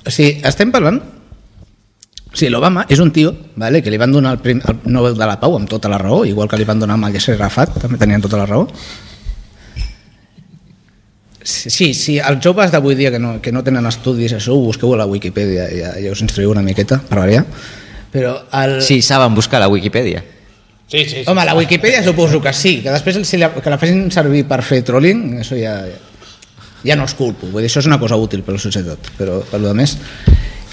O sigui, estem parlant... O sigui, l'Obama és un tio vale, que li van donar el, prim, el Nobel de la Pau amb tota la raó, igual que li van donar amb el Yasser Arafat, també tenien tota la raó. Sí, sí, sí, els joves d'avui dia que no, que no tenen estudis, això ho busqueu a la Wikipedia, ja, ja us instruïu una miqueta, per variar. Però el... Sí, saben buscar la Wikipedia. Sí, sí, sí. Home, la Wikipedia suposo que sí, que després si la, que la facin servir per fer trolling, això ja, ja no els culpo, vull dir, això és una cosa útil per la societat, però per lo més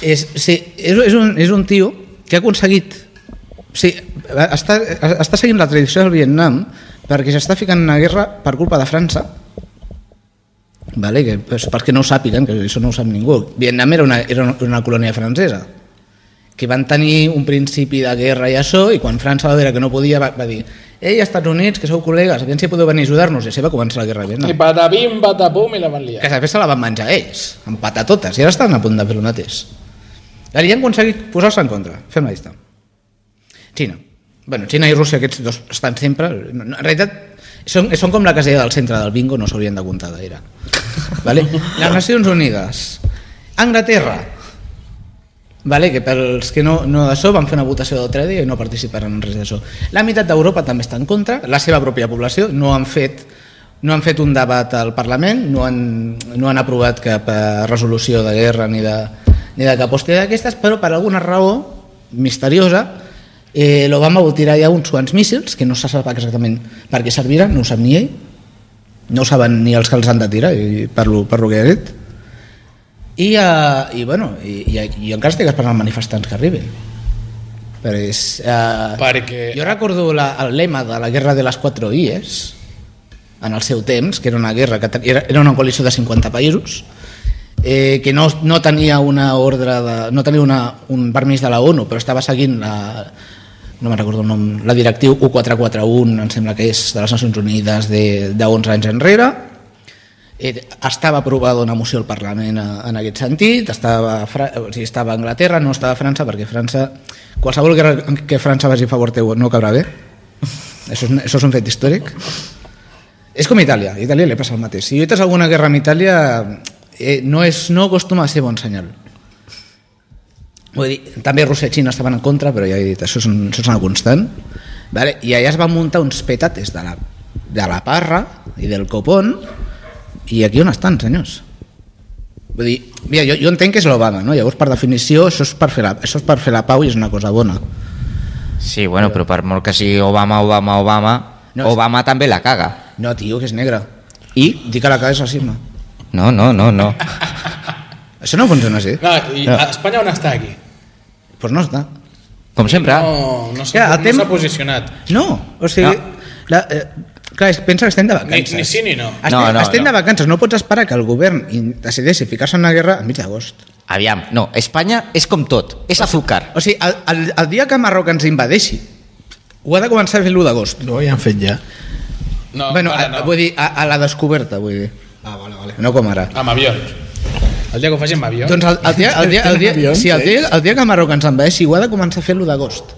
és, sí, és, és, un, és un tio que ha aconseguit sí, està, està seguint la tradició del Vietnam perquè s'està ficant en una guerra per culpa de França vale, que, pues, perquè no ho sàpiguen, que això no ho sap ningú Vietnam era una, era una colònia francesa que van tenir un principi de guerra i això, i quan França va veure que no podia, va, va dir «Ei, Estats Units, que sou col·legues, aviam si podeu venir a ajudar-nos». I així va començar la guerra de I Vietnam. patapim, patapum i la van Que liar. després se la van menjar ells, amb patatotes, i ara estan a punt de fer el mateix. Ara ja han aconseguit posar-se en contra. Fem la llista. Xina. Bueno, Xina i Rússia, aquests dos estan sempre... no, En realitat, són, són com la casella del centre del bingo, no s'haurien de comptar gaire. Vale? Les Nacions Unides. Anglaterra. Vale, que pels que no, no d'això van fer una votació d'altre dia i no participaran en res d'això. La meitat d'Europa també està en contra, la seva pròpia població, no han fet no han fet un debat al Parlament, no han, no han aprovat cap eh, resolució de guerra ni de, ni de cap hòstia d'aquestes, però per alguna raó misteriosa eh, l'Obama vol tirar ja uns quants míssils, que no se sap exactament per què serviran, no ho sap ni ell, no ho saben ni els que els han de tirar, i parlo, parlo que he dit, i, uh, i, bueno, i, i, i encara estic esperant els manifestants que arribin. Però és, uh, Perquè- Jo recordo la, el lema de la guerra de les 4 IES, en el seu temps, que era una guerra que ten- era, era una coalició de 50 països, eh, que no, no tenia una ordre de, no tenia una, un permís de la ONU, però estava seguint la, no me'n recordo el nom, la directiu 1441, em sembla que és de les Nacions Unides de, de 11 anys enrere, Eh, estava aprovada una moció al Parlament eh, en aquest sentit, estava, a Fra- o sigui, estava a Anglaterra, no estava a França, perquè França, qualsevol guerra en què França vagi a favor teu no cabrà bé. Això és, un- això és un fet històric. És com Itàlia, a Itàlia li passa el mateix. Si lluites alguna guerra amb Itàlia, eh, no, és, no acostuma a ser bon senyal. Vull dir, també Rússia i Xina estaven en contra, però ja he dit, això és, un, això és una constant. Vale? I allà es van muntar uns petates de la, de la parra i del copon, i aquí on estan, senyors? Vull dir, mira, jo, jo entenc que és l'Obama, no? Llavors, per definició, això és per, fer la, això és per fer la pau i és una cosa bona. Sí, bueno, però per molt que sigui Obama, Obama, Obama, No, és- Obama també la caga. No, tio, que és negre. I? Dic a la cara és racisme. No, no, no, no. Això no funciona així. No, i a Espanya on està aquí? Doncs pues no està. Com sempre. No, no s'ha Ja, el no tema- s'ha posicionat. No, o sigui... No. La, eh, clar, és- pensa que estem de vacances. Ni- ni sí ni no. Estem, No, no, estem no. de vacances, no pots esperar que el govern in- decideixi ficar-se en una guerra a mig d'agost. Aviam, no, Espanya és com tot, és azúcar. O sigui, el, el, el dia que Marroc ens invadeixi, ho ha de començar a fer l'1 d'agost. No, ja han fet ja. No, bueno, ara a, no. vull dir, a, a la descoberta, vull dir. Ah, vale, vale. No com ara. Amb avions. El dia que ho faci amb avions. Doncs el, el, dia, el, dia, el, dia, el, dia, Avions, sí, el, dia, ells? el dia que Marroc ens envaeixi ho ha de començar a fer l'1 d'agost.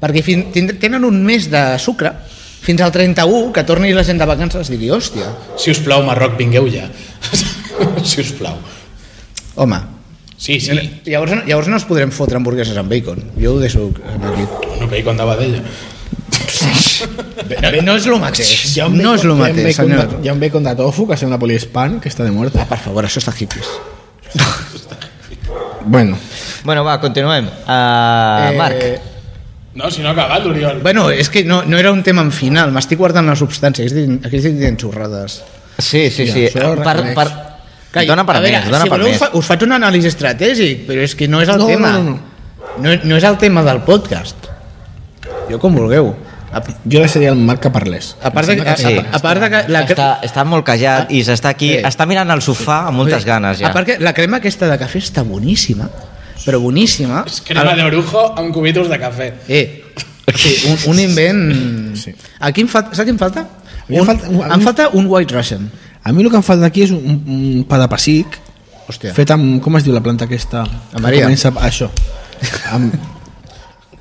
Perquè fin, tind- tenen un mes de sucre fins al 31 que torni la gent de vacances i digui, hòstia, Si us plau, Marroc, vingueu ja. si us plau. home, Sí, sí. Llavors, llavors no ens podrem fotre hamburgueses amb bacon. Jo ho deixo aquí. No veig quan dava d'ella. No és el mateix. No és el mateix, senyor. Hi ha un bacon de tofu que sembla poliespan, que està de muerte. Per favor, això està hippies. Bueno. Bueno, va, continuem. Uh, Eh, Marc, No, si no ha cagat, l'Oriol. Bueno, és que no, no era un tema en final. M'estic guardant la substància. Aquí estic, aquí estic dient xorrades. sí, sí, ja, sí. Ah, això ho per, reconeix. per... Cai, Dona per a veure, més, dona si per voleu, més. fa- Us faig un anàlisi estratègic, però és que no és el No, tema. no, no, no. No, és el tema del podcast. Jo com vulgueu. A, Jo deixaria el Marc que parlés. a part de, a, Sí. a, a part de que... La, Està, està molt callat i s'està aquí, Sí. està mirant al sofà amb moltes ganes ja. A part que la crema aquesta de cafè està boníssima, però boníssima. És crema de orujo amb cubitos de cafè. Eh, sí, un, un invent... Sí. Sí. Aquí em falta, saps què em falta? mi em Un, falta- a mi- em falta un white russian. A mi el que em falta aquí és un, un pa de pessic Hòstia. fet amb, com es diu la planta aquesta? Maria. Que Comença a- això. Amb,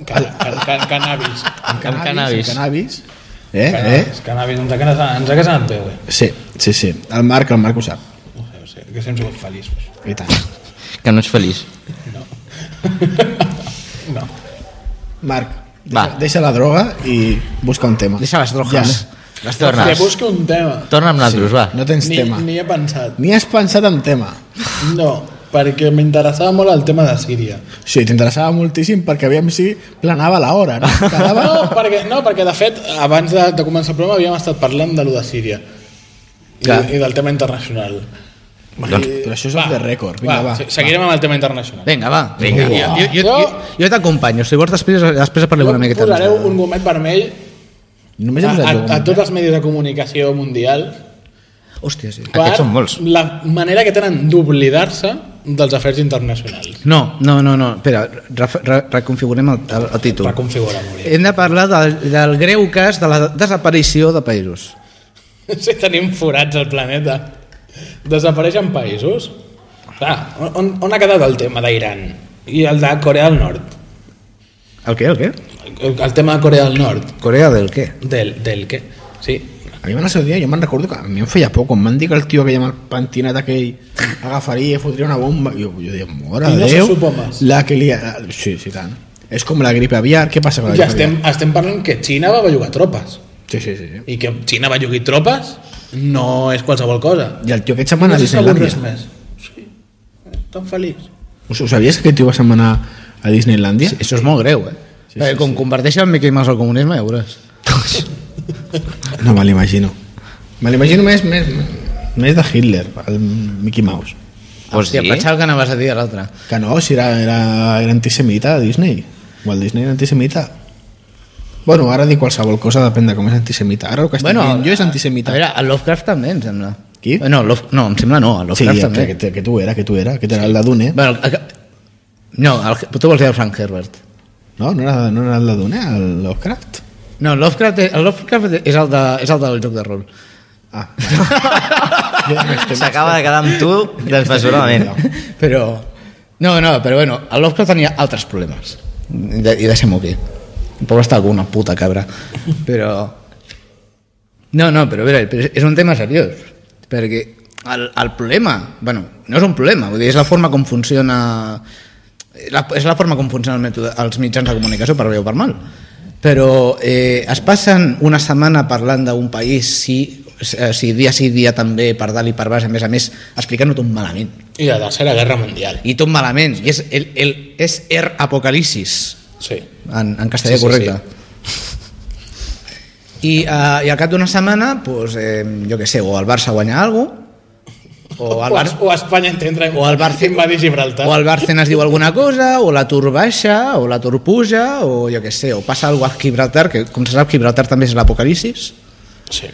Can, can, can, cannabis. amb cannabis. cannabis. Amb cannabis. Eh? Que no, Eh? És que cannabis ens ha casat, ens ha casat bé, güey. Sí, sí, sí. El Marc, el Marc ho sap. No sé, eh? no sé, que sempre sigut feliços. I tant. Que no ets feliç. No. Marc, Va. deixa, deixa la droga i busca un tema. Deixa les drogues. Les Que tornes. busca un tema. Torna amb nosaltres, va. No tens Ni, tema. Ni... ni he pensat. ni has pensat en tema. No, perquè m'interessava molt el tema de Síria. Sí, t'interessava moltíssim perquè aviam si planava l'hora, no? Quedava... No, perquè, no, perquè de fet, abans de, de començar el programa havíem estat parlant de lo de Síria. I, Clar. i del tema internacional. Doncs, però això és off the record. Vinga, va. se- seguirem amb el tema internacional. Vinga, va. Vinga. Jo, jo, jo, Jo- jo, jo t'acompanyo. Si vols, després, després parlem Jo una miqueta. més. posareu un gomet vermell Només a, hem a, posat eh? a tot... tots els medis de comunicació mundial Hòstia, sí. per són molts. la manera que tenen d'oblidar-se dels afers internacionals. No, no, no, no. Espera, ref- re, reconfigurem el, el, el títol. Reconfigura molt bé. Hem de parlar del, del greu cas de la desaparició de països. Si tenim forats al planeta. Desapareixen països. Clar, on, on ha quedat el tema d'Iran? I el de Corea del Nord? El què, el què? El, el tema de Corea del Nord. Corea del què? Del, del què? Sí. A mi en el seu dia, jo me'n recordo que a mi em feia por, quan m'han dit que el tio que llama el pentinat aquell agafaria i fotria una bomba, jo, jo deia, mora I no de se Déu, supo más. la que li... ha- Sí, sí, tant. És com la gripe aviar, què Ah, passa amb la Ja gripe estem, estem parlant que Xina va bellugar tropes. aviar? Sí, sí, sí. I que Xina bellugui tropes no és qualsevol cosa. I el tio aquest se'n va anar no a s'ha sabut Disneylandia. res més. Sí. Tan feliç. Us, us sabies que aquest tio va se'n va anar a Disneylandia? Això és molt greu, eh? Sí, sí, com sí. converteixen en Mickey Mouse al comunisme, ja veuràs. No me l'imagino. Me l'imagino més, més, més de Hitler, el Mickey Mouse. Vols Hòstia, dir? pensava que anaves a dir l'altre. Que no, si era, era, era antisemita Disney. Walt Disney era antisemita. Bueno, ara dic qualsevol cosa, depèn de com és antisemita. Ara el que estic bueno, dient jo és antisemita. A veure, el Lovecraft també, em sembla. Eh, Qui? No, Love, no em sembla no, el sí, Lovecraft que, també. que, que, que tu era, que tu era, que era el de Dune. Bueno, el, el, no, el, tu vols dir el Frank Herbert. No, no era, no era el de Dune, el Lovecraft. No, Lovecraft, el Lovecraft és el, de, és el del joc de rol. Ah, vale. S'acaba de quedar amb tu desmesuradament. Però... No, no, però bueno, el Lovecraft tenia altres problemes. I, de, i deixem-ho aquí. Pobre estar alguna puta cabra. Però... No, no, però a veure, però és un tema seriós. Perquè el, el problema... bueno, no és un problema, vull dir, és la forma com funciona... La, és la forma com funciona el mètode, els mitjans de comunicació, per bé o per mal. Però eh, es passen una setmana parlant d'un país si, eh, si dia sí, dia també, per dalt i per baix, a més a més, explicant-ho tot malament I la Tercera Guerra Mundial. i tot malament i és, el, el, és er apocalipsis Sí. en, en castellà Sí, sí, correcte I, uh, i al cap d'una setmana pues, eh, jo que sé, o el Barça guanya alguna cosa o el, O, Bar es- o Espanya entendre O el Barça- invadir Gibraltar. o el Barcelona es diu alguna cosa o l'atur baixa, o l'atur puja o jo que sé, o passa alguna cosa a Gibraltar que com se sap Gibraltar també és l'apocalipsis Sí.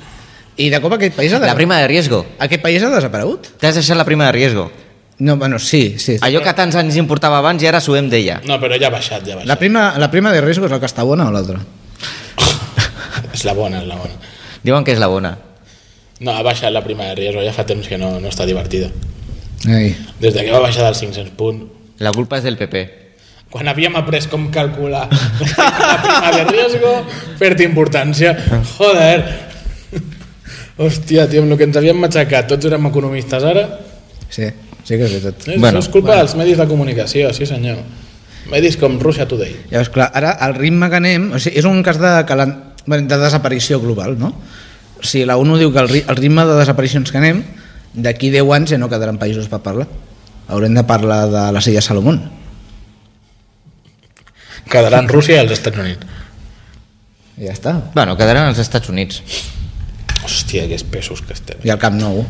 i de cop aquest país ha, de... La prima de riesgo. aquest país ha desaparegut T'has deixat la prima de riesgo. no, bueno, sí, sí Allò que tants anys importava abans i ara suem d'ella. No, però ja ha baixat, ja ha la baixat. prima, la prima de risc és la que està bona o l'altra? És la bona, és la bona. Diuen que és la bona. No, ha baixat la prima de riesgo, ja fa temps que no, no està divertida. Ai. Des de que va baixar dels 500 punts. La culpa és del PP. Quan havíem après com calcular la prima de riesgo, perd importància. Joder. Hòstia, tio, amb el que ens havíem matxacat, tots érem economistes ara. Sí, sí que és veritat. Eh, Bueno, bueno, això és culpa dels medis de comunicació, sí senyor. Medis com Russia Today. Llavors, clar, ara el ritme que anem... O sigui, és un cas de, calen- bueno, de desaparició global, no? O sigui, la ONU diu que el, ri- el ritme de desaparicions que anem, d'aquí 10 anys ja no quedaran països per parlar. Haurem de parlar de les Illes Salomón. Quedaran Rússia i els Estats Units. I ja està. Bueno, quedaran als Estats Units. Hòstia, que espessos que estem. I el Camp Nou.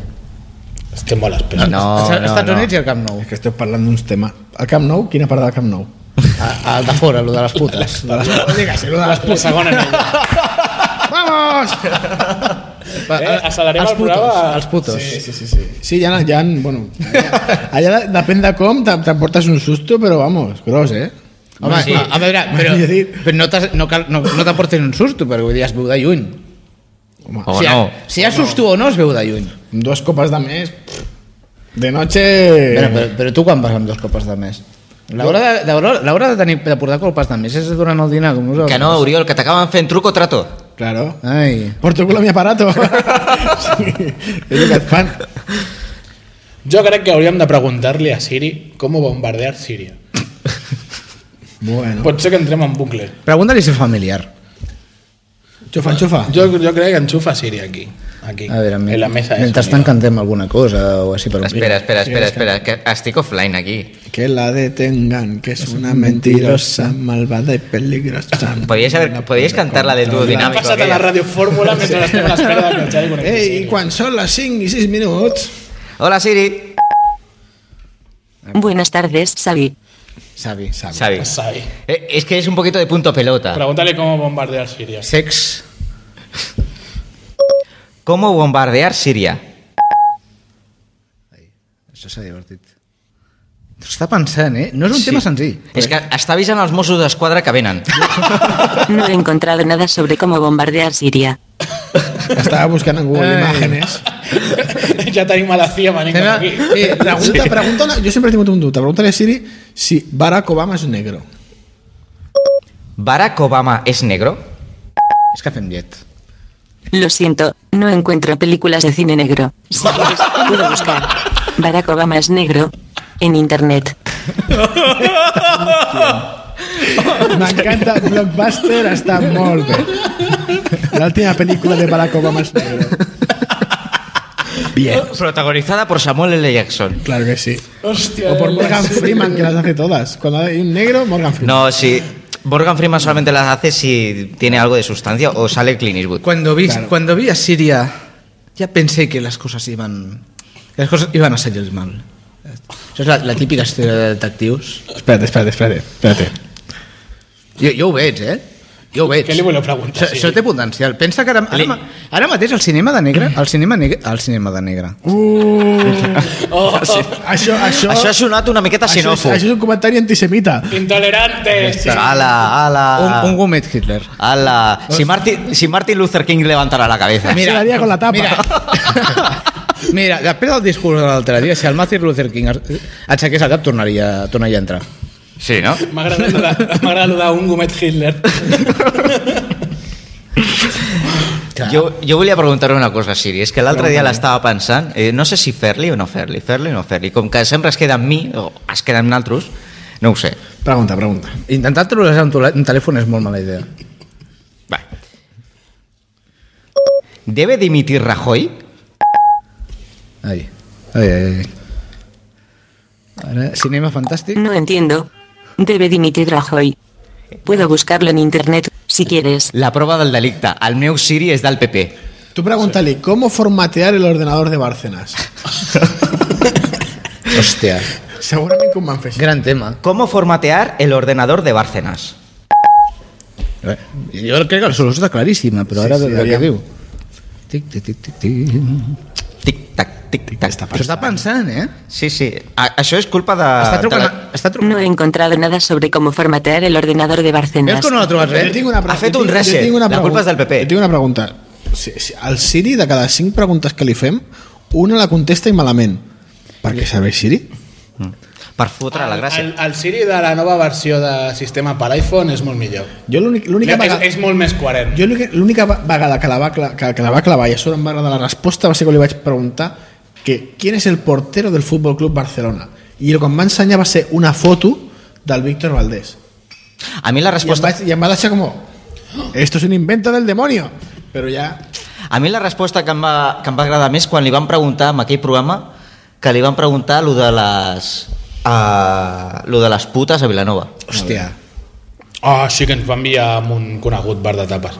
Estem molt espessos. No, Els no, Estats no. Units i el Camp Nou. És que esteu parlant d'uns temes. El Camp Nou? Quina part del Camp Nou? A- El de fora, el de les putes. De les... Dígase-lo de les La segona anella. Vamos! Eh, accelerem els el programa. Els putos. Sí, sí, sí. Sí, sí ja, ja, bueno, allà, allà de- depèn de com te- t'emportes un susto, però vamos, gros, eh? Home, sí. Sí. a, a veure, però, M'havia dit. però no, t'has- no, cal, no, no t'aportes un susto, perquè vull dir, es veu de lluny. Home, O si, no. ha, si hi ha susto o no, es veu de lluny. amb dues copes de més, pff, de noche... Eh, Però, però, però tu quan vas amb dos copes de més? L'hora de, de, l'hora de, tenir, de portar copes de més és durant el dinar, com nosaltres. Que no, Oriol, que t'acaben fent truco trato. Claro. Ai. Por tu culo mi aparato. sí, és el que et fan. Jo crec que hauríem de preguntar-li a Siri com bombardear Síria. Bueno. Pot ser que entrem en bucle. Pregunta-li si és familiar. Xufa, xufa. Jo, jo crec que enxufa Síria aquí. aquí A veure, en la mesa eh, de mentrestant sonido. cantem alguna cosa o així per un Espera, espera, espera, espera, que estic offline aquí. Que la detengan, que es una mentirosa, malvada y peligrosa. Podíais, haver, podíais cantar la del dúo Ha dinámico. passat a la aquella. ràdio fórmula mentre estem a l'espera de enganxar i connectar Ei, i Síria. quan són les 5 i 6 minuts... Hola, Siri. Buenas tardes, Xavi. Savi, savi. Xavi. Sabi. Eh, es que es un poquito de punto pelota. Pregúntale com bombardear Síria. Sex. ¿Cómo bombardear Siria? Això s'ha divertit. T'ho està pensant, eh? No és un sí. tema senzill. És que està avisant els Mossos d'Esquadra que venen. No he encontrado nada sobre cómo bombardear Siria. Estava buscant en Google Ei. Imàgenes. ja tenim a la CIA venint cap Sembla- aquí. Sí, Eh, Pregunta, sí. pregunta, jo sempre he tingut un dubte. Pregunta a Siri si Barack Obama és negro. ¿Barack Obama es negro? És que fem llet. Lo siento, no encuentro películas de cine negro. Si quieres, puedo buscar. Barack Obama es negro. En internet. M'encanta, Blockbuster està molt bé. L'última pel·lícula de Barack Obama és negro. Bien. Protagonizada por Samuel L. Jackson. Claro que sí. Hòstia, O por Morgan Freeman, que las hace todas. Cuando hay un negro, Morgan Freeman. No, si Morgan Freeman solamente las hace si tiene algo de sustancia o sale Clint Eastwood. Cuando vi, claro. cuando vi a Siria, ya pensé que las cosas iban, que las cosas iban a salir mal. Això és la, la típica història de detectius. Espérate, espérate, espérate. espérate. Jo, jo ho veig, eh? Jo ho veig. Què li voleu preguntar, Això, Siri? això té potencial. Pensa que ara, ara, Li- ma- ara mateix el cinema de negre... El cinema, negre, el cinema de negre. Oh, Això, això, Això ha sonat una miqueta això, és, xenòfob. això és un comentari antisemita. intolerante. Sí. Ala, ala. Un, un gomet Hitler. ala. Si Martin, si Martin Luther King levantara la cabeza. Se la lía con la tapa. Mira, mira després del discurs de l'altre dia, si el Martin Luther King aixequés el cap, tornaria, tornaria a entrar. Sí, ¿no? M'ha agradat lo de- m'ha agradat lo d'un gomet Hitler. Jo, jo volia preguntar-li una cosa, Siri. És que l'altre dia l'estava pensant, eh, no sé si fer-li o no fer-li, fer-li o no fer-li. Com que sempre es queda amb mi, o es queda amb naltros, no ho sé. Pregunta, pregunta. Intentar trobar un, tole- un telèfon és molt mala idea. Va. ¿Debe dimitir Rajoy? Ai, ai, ai. ai. Ara, cinema fantàstic. No entiendo. Debe dimitir Rajoy. Puedo buscarlo en internet, si quieres. La prova del delicte. El meu Siri és del PP. Tú pregúntale, ¿cómo formatear el ordenador de Bárcenas? Hòstia, Segurament que un van fer així. gran tema. ¿Cómo formatear el ordenador de Bárcenas? Eh, Jo crec que la solució està claríssima, però Sí, ara sí, sí, sí, què aviam. diu? Tic, tic, tic, tic, tic. Tic-tac, tic-tac. Això està pensant, eh? Sí, sí. A això és culpa de... Ah, està trucant... de a- Està No trucant... he encontrado nada sobre cómo formatear el ordenador de Veus Barcenas. que no l'ha trobat Jo res? tinc una pre- Ha fet jo un tinc- jo reset. tinc La pregunta. culpa és del PP. Jo tinc una pregunta. Si, si, el Siri, de cada 5 preguntes que li fem, una la contesta i malament. Per què serveix Siri? Per fotre la gràcia. El, el Siri de la nova versió de sistema per iPhone és molt millor. Jo l'únic- l'única És, vegada... és molt més coherent. Jo l'única- l'única va- vegada que la, va, cla- que, que la va clavar i a sobre em va agradar la resposta va ser quan li vaig preguntar que ¿quién es el portero del Fútbol Club Barcelona? I el que em va ensenyar va ser una foto del Víctor Valdés. A mi la I em, resposta... va, I em va deixar com... "¡Ah! Esto es un invento del demonio. Però ja... A mi la resposta que em, va, que em va agradar més quan li van preguntar en aquell programa que li van preguntar lo de les... Uh, lo de les putes a Vilanova. Hòstia. Oh, sí que ens va enviar amb un conegut bar de tapes.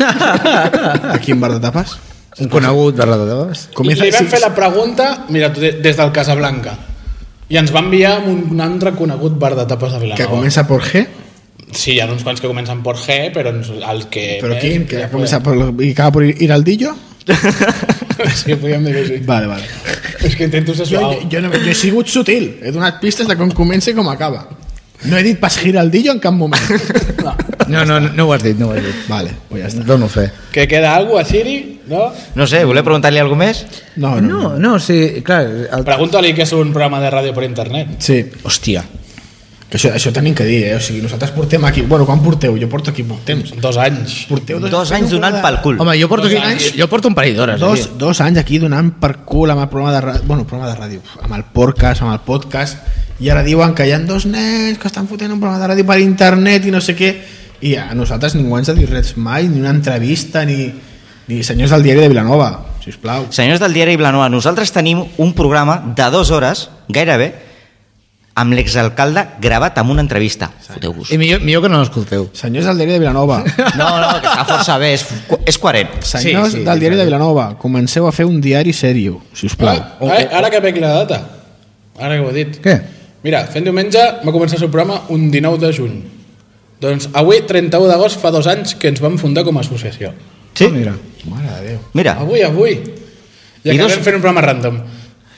A quin bar de tapes? Un conegut de Radadabas. Comienza, li sí, vam fer la pregunta, mira, tu, de- des del Casablanca. I ens va enviar amb un, un altre conegut bar de tapes de Vilanova. Que comença por G, Sí, hi ha uns quants que comencen per G, però ens, el que... però més, quin? Que ja comença por, i acaba por Hiraldillo? podem- Sí, podríem dir que sí. Vale, vale. És que intento ser Jo, suau. jo, jo, no, jo he sigut sutil. He donat pistes de com comença i com acaba. No he dit pas Giraldillo en cap moment. No. No, no, no, no ho has dit, no ho has dit. Vale, pues ja està. Dono fe. Que queda alguna cosa a Siri, no? No sé, voler preguntar-li alguna més? No, no. no. No, no, sí, clar... El... Pregunta-li que és un programa de ràdio per internet. Sí. Hòstia. Que això, això tenim que dir, eh? O sigui, nosaltres portem aquí... Bueno, quan porteu? Jo porto aquí molt temps. Dos anys. Porteu Dos anys donant pel cul. Home, jo porto, Dos aquí, anys. jo porto un parell d'hores. eh, Dos, aquí. dos anys aquí donant per cul amb el programa de ràdio, bueno, programa de ràdio, amb el podcast, amb el podcast, i ara diuen que hi ha dos nens que estan fotent un programa de ràdio per internet i no sé què, i a nosaltres ningú ens ha dit res mai, ni una entrevista, ni, ni senyors del diari de Vilanova, si us plau. Senyors del diari Vilanova, nosaltres tenim un programa de dues hores, gairebé, amb l'exalcalde gravat amb una entrevista. Foteu-vos. I millor, millor que no l'escolteu. Senyors del diari de Vilanova, No, no, que està força bé, és, és coherent. senyors Sí, sí, del diari sí. de Vilanova, comenceu a fer un diari serio, si us plau. Ah, oh, ara, ara que veig la data, ara que ho he dit. Què? Mira, fent diumenge va començar el seu programa un 19 de juny. Doncs avui, 31 d'agost, fa dos anys que ens vam fundar com a associació. Ah, Sí? mira. Mare de Déu. Mira, Avui, avui. I I acabem dos- fent un programa random.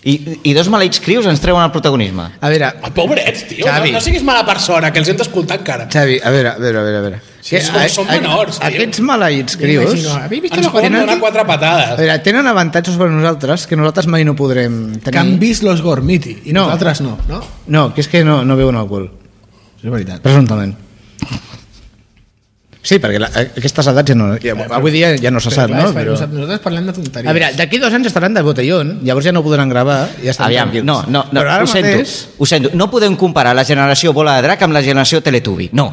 i, i dos maleïts crius ens treuen el protagonisme. A veure, Ah, pobrets, tio, Xavi. no, no siguis mala persona, que els hem d'escoltar encara. Xavi, a veure, a veure, a veure. A veure. Sí, Que- som- som menors, tio. Aquests maleïts crios... imagino, ¿habéis visto Ens los poden donar gormios? quatre A Eh, patades. veure, tenen avantatges sobre nosaltres que nosaltres mai no podrem tenir. Que han vist los Gormiti, i No. nosaltres no, no? No, que és que no, no veuen alcohol, És veritat. presumptament. Sí, perquè la, aquestes edats ja no... Ja, avui dia ja no se sap, Clar, no? és per- Però... Nosaltres parlem de tonteries. A veure, d'aquí dos anys estaran de botellón, llavors ja no podran gravar, ja estan Aviam, tranquils. no, no, no Però ara ho, sento, mateix... ho sento. No podem comparar la generació Bola de Drac amb la generació Teletubi. No,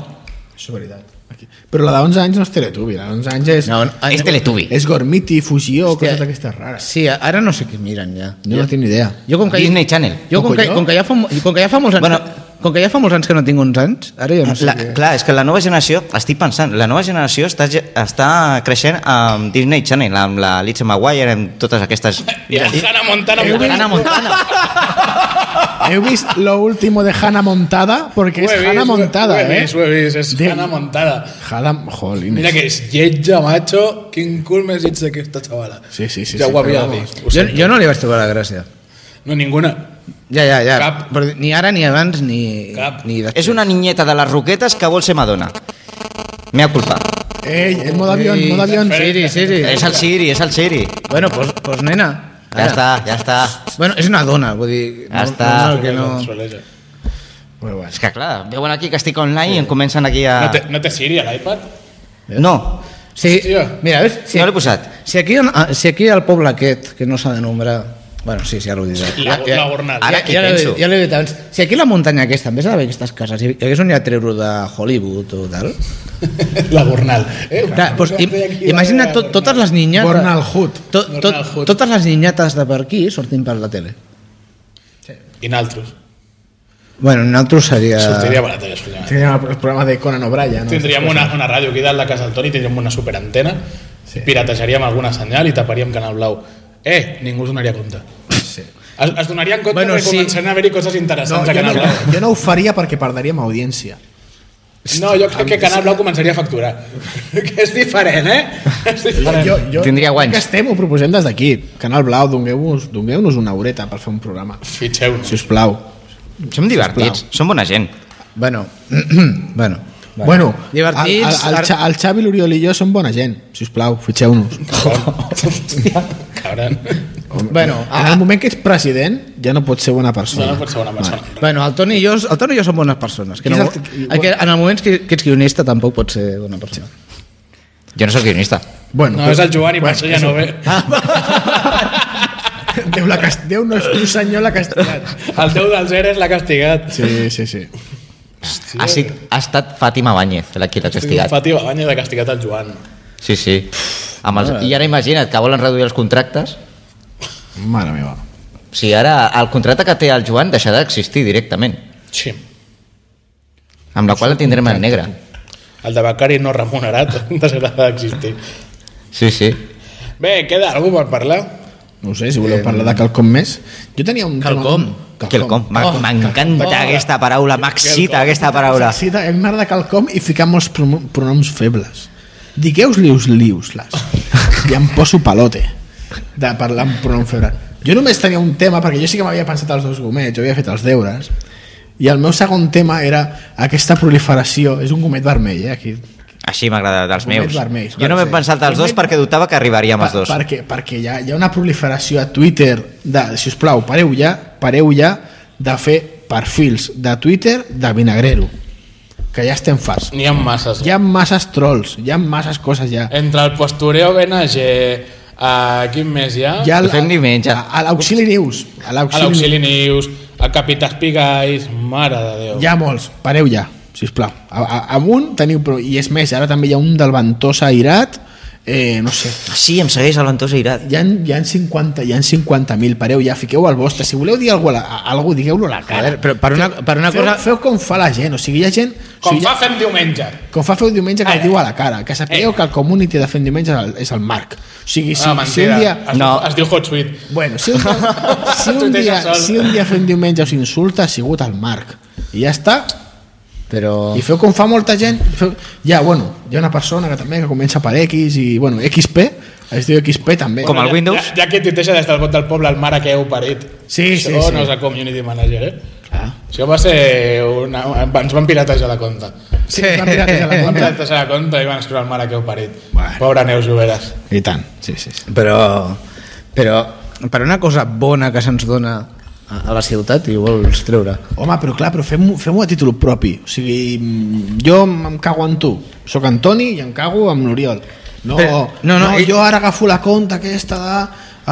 Això és veritat. Aquí. Però la de 11 anys no és Teletubi, la de 11 anys és, No, no, no, Ah, és Teletubi. és Gormiti, Hòstia. Fusió, Hòstia. coses d'aquestes rares. Sí, ara no sé què miren ja. Jo no tinc ni idea. Jo com que... Disney Channel. Jo com que, Colló? com que, ja, fa, mo- com que ja fa molts anys... Bueno. com que ja fa molts anys que no tinc 11 anys, ara ja no sé La, què. clar, és que la nova generació, estic pensant, la nova generació està, ge- està creixent amb Disney Channel, amb la Lizzie McGuire, amb totes aquestes... I el Hannah Montana Eh, Movie. Hannah Montana. Heu vist lo último de Hannah Montada? Porque Ho és he vist, Hannah Montada, ho he eh? vist, ho he vist, és Déu. Hannah Montada. Hannah... Jolines. Mira que és lletja, macho, quin cul més lleig d'aquesta xavala. Sí, sí, sí, Ja sí, ho havia però vamos. dit. ho Jo, sento. jo no li vaig trobar la gràcia. No, ninguna. Ja, ja, ja. Cap. Però ni ara, ni abans, ni... Cap. ni després. És una niñeta de les Roquetes que vol ser Madonna. Mea culpa. Ei, Eh, en modo avión, modo avión. Sí, sí, sí. sí. És el Siri, és el Siri. Eh, Bueno, pues, pues nena. Ja està, ja està. Bueno, és una dona, vull dir... Ja està. No, que no... Soleja. Bueno, bueno. És que clar, veuen aquí que estic online i em comencen aquí a... No té, no té Siri a l'iPad? No, Sí, Hòstia. mira, veus? Sí. no l'he posat. Si aquí, ah, si aquí al poble aquest, que no s'ha de nombrar... Bueno, sí, sí, ara ho diré. La, la gornada. Ara- què ja, l'he penso? dit- ja l'he dit abans. Si aquí la muntanya aquesta, en vez d'haver aquestes cases, hi hagués un llatreuro de Hollywood o tal... La gornal. Eh? Clar, doncs, im, imagina tot, totes les niñates... Gornal Hood. To, to, Gornal Hood. totes les niñates de per aquí sortint per la tele. I naltros. Bueno, nosaltres seria... Sortiria barat, això. collons. Teníem el programa de Conan O'Brien. No? Tindríem una, una ràdio aquí dalt de casa del Toni, tindríem una superantena, sí. piratejaríem alguna senyal i taparíem Canal Blau. Eh, ningú es donaria compte. Sí. Es, es donaria en compte Bueno, bueno, que sí. començaran a haver-hi coses No, interessants no, a jo, Canal no, Blau. jo no ho faria perquè perdríem audiència. No, jo crec que Canal Blau començaria a facturar. que és diferent, eh? És diferent. Jo, jo, Tindria guanys. Que estem, ho proposem des d'aquí. Canal Blau, dongueu-nos dongueu una horeta per fer un programa. Fitxeu-nos. Si us plau. Som divertits, som bona gent. Bueno, bueno. Vale. Bueno, Divertits, El, el, el, Xa- el Xavi, l'Oriol i jo som bona gent. Si us plau, fitxeu-nos. Cabran. Bueno, En el moment que ets president, ja no pots ser bona No, persona. no pot ser una persona. Bueno, el Toni i jo, el Toni i jo som bones persones. Que no, Qui és el- el, que en el moment que, que ets guionista tampoc pots ser bona persona. Jo no sóc guionista. Bueno, No, és el Joan i per això ja no ve. Déu, la cast... Déu no és tu, senyor, la castellat. El Déu dels Eres l'ha castigat. Sí, sí, sí. Ha, sit, ha estat Fàtima Báñez, la qui l'ha castigat. Fati Baganya de castigat el Joan. Sí, sí. Amb els, I ara imagina't que volen reduir els contractes. Mare meva. O sigui, ara el contracte que té el Joan deixarà d'existir directament. Sí. Amb la qual la tindrem en negre. El de Becari no remunerat deixarà d'existir. Sí, sí. Bé, queda algú per parlar? No ho sé, si voleu parlar de quelcom més. Jo tenia un... Quelcom. Tema... Oh, Quelcom. M'a- M'encanta aquesta paraula, m'excita aquesta paraula. Sí, a mi m'agrada quelcom i ficar molts pronom- pronoms febles. Digueu-li us lius les. I em poso palote de parlar amb pronom feble. Jo només tenia un tema, perquè jo sí que m'havia pensat els dos gomets, jo havia fet els deures, i el meu segon tema era aquesta proliferació, és un gomet vermell, eh, aquí. Així m'agrada, dels Gomets meus. vermells, Jo no m'he sí. pensat els dos Gomets- perquè dubtava que arribaríem els dos. perquè, perquè hi ha, hi ha una proliferació a Twitter de, si us plau, pareu ja, pareu ja de fer perfils de Twitter de Vinagrero, que ja estem farts. N'hi ha masses. Hi ha masses trolls, hi ha masses coses ja. Entre el postureo BNG, a eh, quin més hi ha? Hi ha el- No fem ni menys, ja. A, a l'Auxili News. A A l'Auxili News, a Capità Espigais, mare de Déu. Hi ha molts, pareu ja, sisplau. A, a, amb un teniu prou, i és més, ara també hi ha un del Ventosa Irat, eh, no sé, Sí, em segueix el Ventosa Irat. hi ha, hi ha 50 hi ha 50.000, pareu ja, fiqueu al vostre, si voleu dir alguna cosa, algú digueu-lo a la cara. Joder, però per una, per una feu, cosa... feu com fa la gent, o sigui, hi ha gent... o Com sigui, fa fem diumenge. com fa fer un diumenge que Ai, el diu a la cara que sapigueu Eh. que el community de fent diumenge és el, és el Marc o sigui, si, Ah, si un mentida. dia Es, No. no. es diu Hotsuite. Bueno, si un dia, si un Tuiteja dia, sol. si un dia fent diumenge us insulta ha sigut el Marc. I ja està. Però... I feu com fa molta gent. Feu... Ja, bueno, hi ha una persona que també que comença per X i, bueno, XP, es diu XP també. Com el Windows. Ja, ja que tuiteja des del bot del poble el mare que heu parit. Sí, sí, Això sí. no és el community manager, eh? Clar. Això va ser una... Ens van piratejar la compta. Sí, sí. La Van compte. piratejar la compta i van escriure el mare que heu parit. Bueno. Pobra Neus Lloberes. I tant, sí, sí. sí. Però, però per una cosa bona que se'ns dona a a la ciutat i ho vols treure. Home, però clar, però fem-ho fem a títol propi. O sigui, mm, jo em cago en tu. Soc Antoni i em cago amb l'Oriol. No, Però- no, no, no, no, no, i- jo ara agafo la conta aquesta de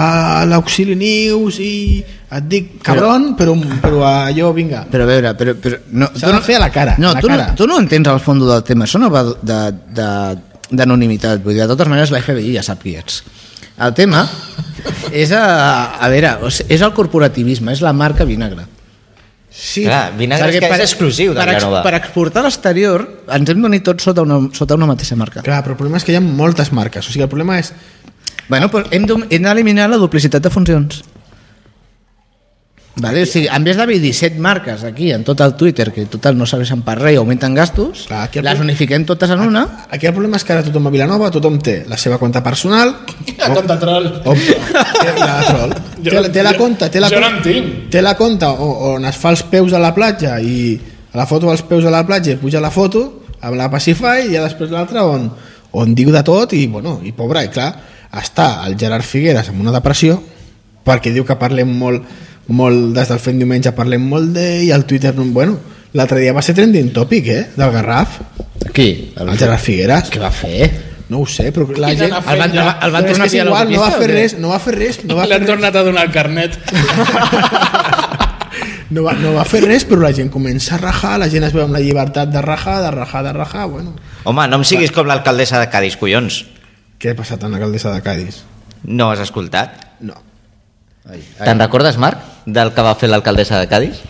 a l'Auxili News i et dic cabron, però, però a jo, vinga. Però a veure, però, però no, S'ha de fer a la cara, No, a la tu, cara. No, tu no entens el fons del tema, això no va de de d'anonimitat, vull dir, de totes maneres la FBI ja sap qui ets. El tema és, a, a veure, o sigui, és el corporativisme, és la marca vinagre. Sí, Clar, vinagre és Perquè que és exclusiu de per, ex- Vilanova. per exportar a l'exterior ens hem donat tots sota una, sota una mateixa marca. clar, però el problema és que hi ha moltes marques. O sigui, el problema és... Bueno, però hem d'om- hem d'eliminar la duplicitat de funcions. Vale? O sigui, en vez d'haver 17 marques aquí en tot el Twitter, que total no serveixen per res i augmenten gastos, Clar, aquí el les punt- unifiquem totes en una. Aquí el problema és que ara tothom a Vilanova, tothom té la seva compte personal, La compta troll. o, té la, troll, té, la- té la compte, té la Jo no compte- en tinc. té la conta o- on es fa els peus a la platja i a la foto als peus a la platja i puja la foto amb la Pacify i ja després l'altra on, on diu de tot i, bueno, i pobra, i clar, està el Gerard Figueres amb una depressió perquè diu que parlem molt, molt des del fent diumenge parlem molt d'ell i al Twitter, no- bueno, l'altre dia va ser trending topic, eh, del Garraf Aquí, el Gerard Figueres Què va fer? no ho sé, però la Quina gent... naf- El van, el, Ja. el van Però és tornar que és a pillar a igual, no va l'autopista fer o què? res, no va fer res, no va fer L'han res. tornat a donar el carnet. no va, no va fer res, però la gent comença a rajar, la gent es veu amb la llibertat de rajar, de rajar, de rajar, bueno. Home, no em siguis com l'alcaldessa de Cádiz, collons. Què ha passat amb l'alcaldessa de Cádiz? No has escoltat? No. Te'n recordes, Marc, del que va fer l'alcaldessa de Cádiz?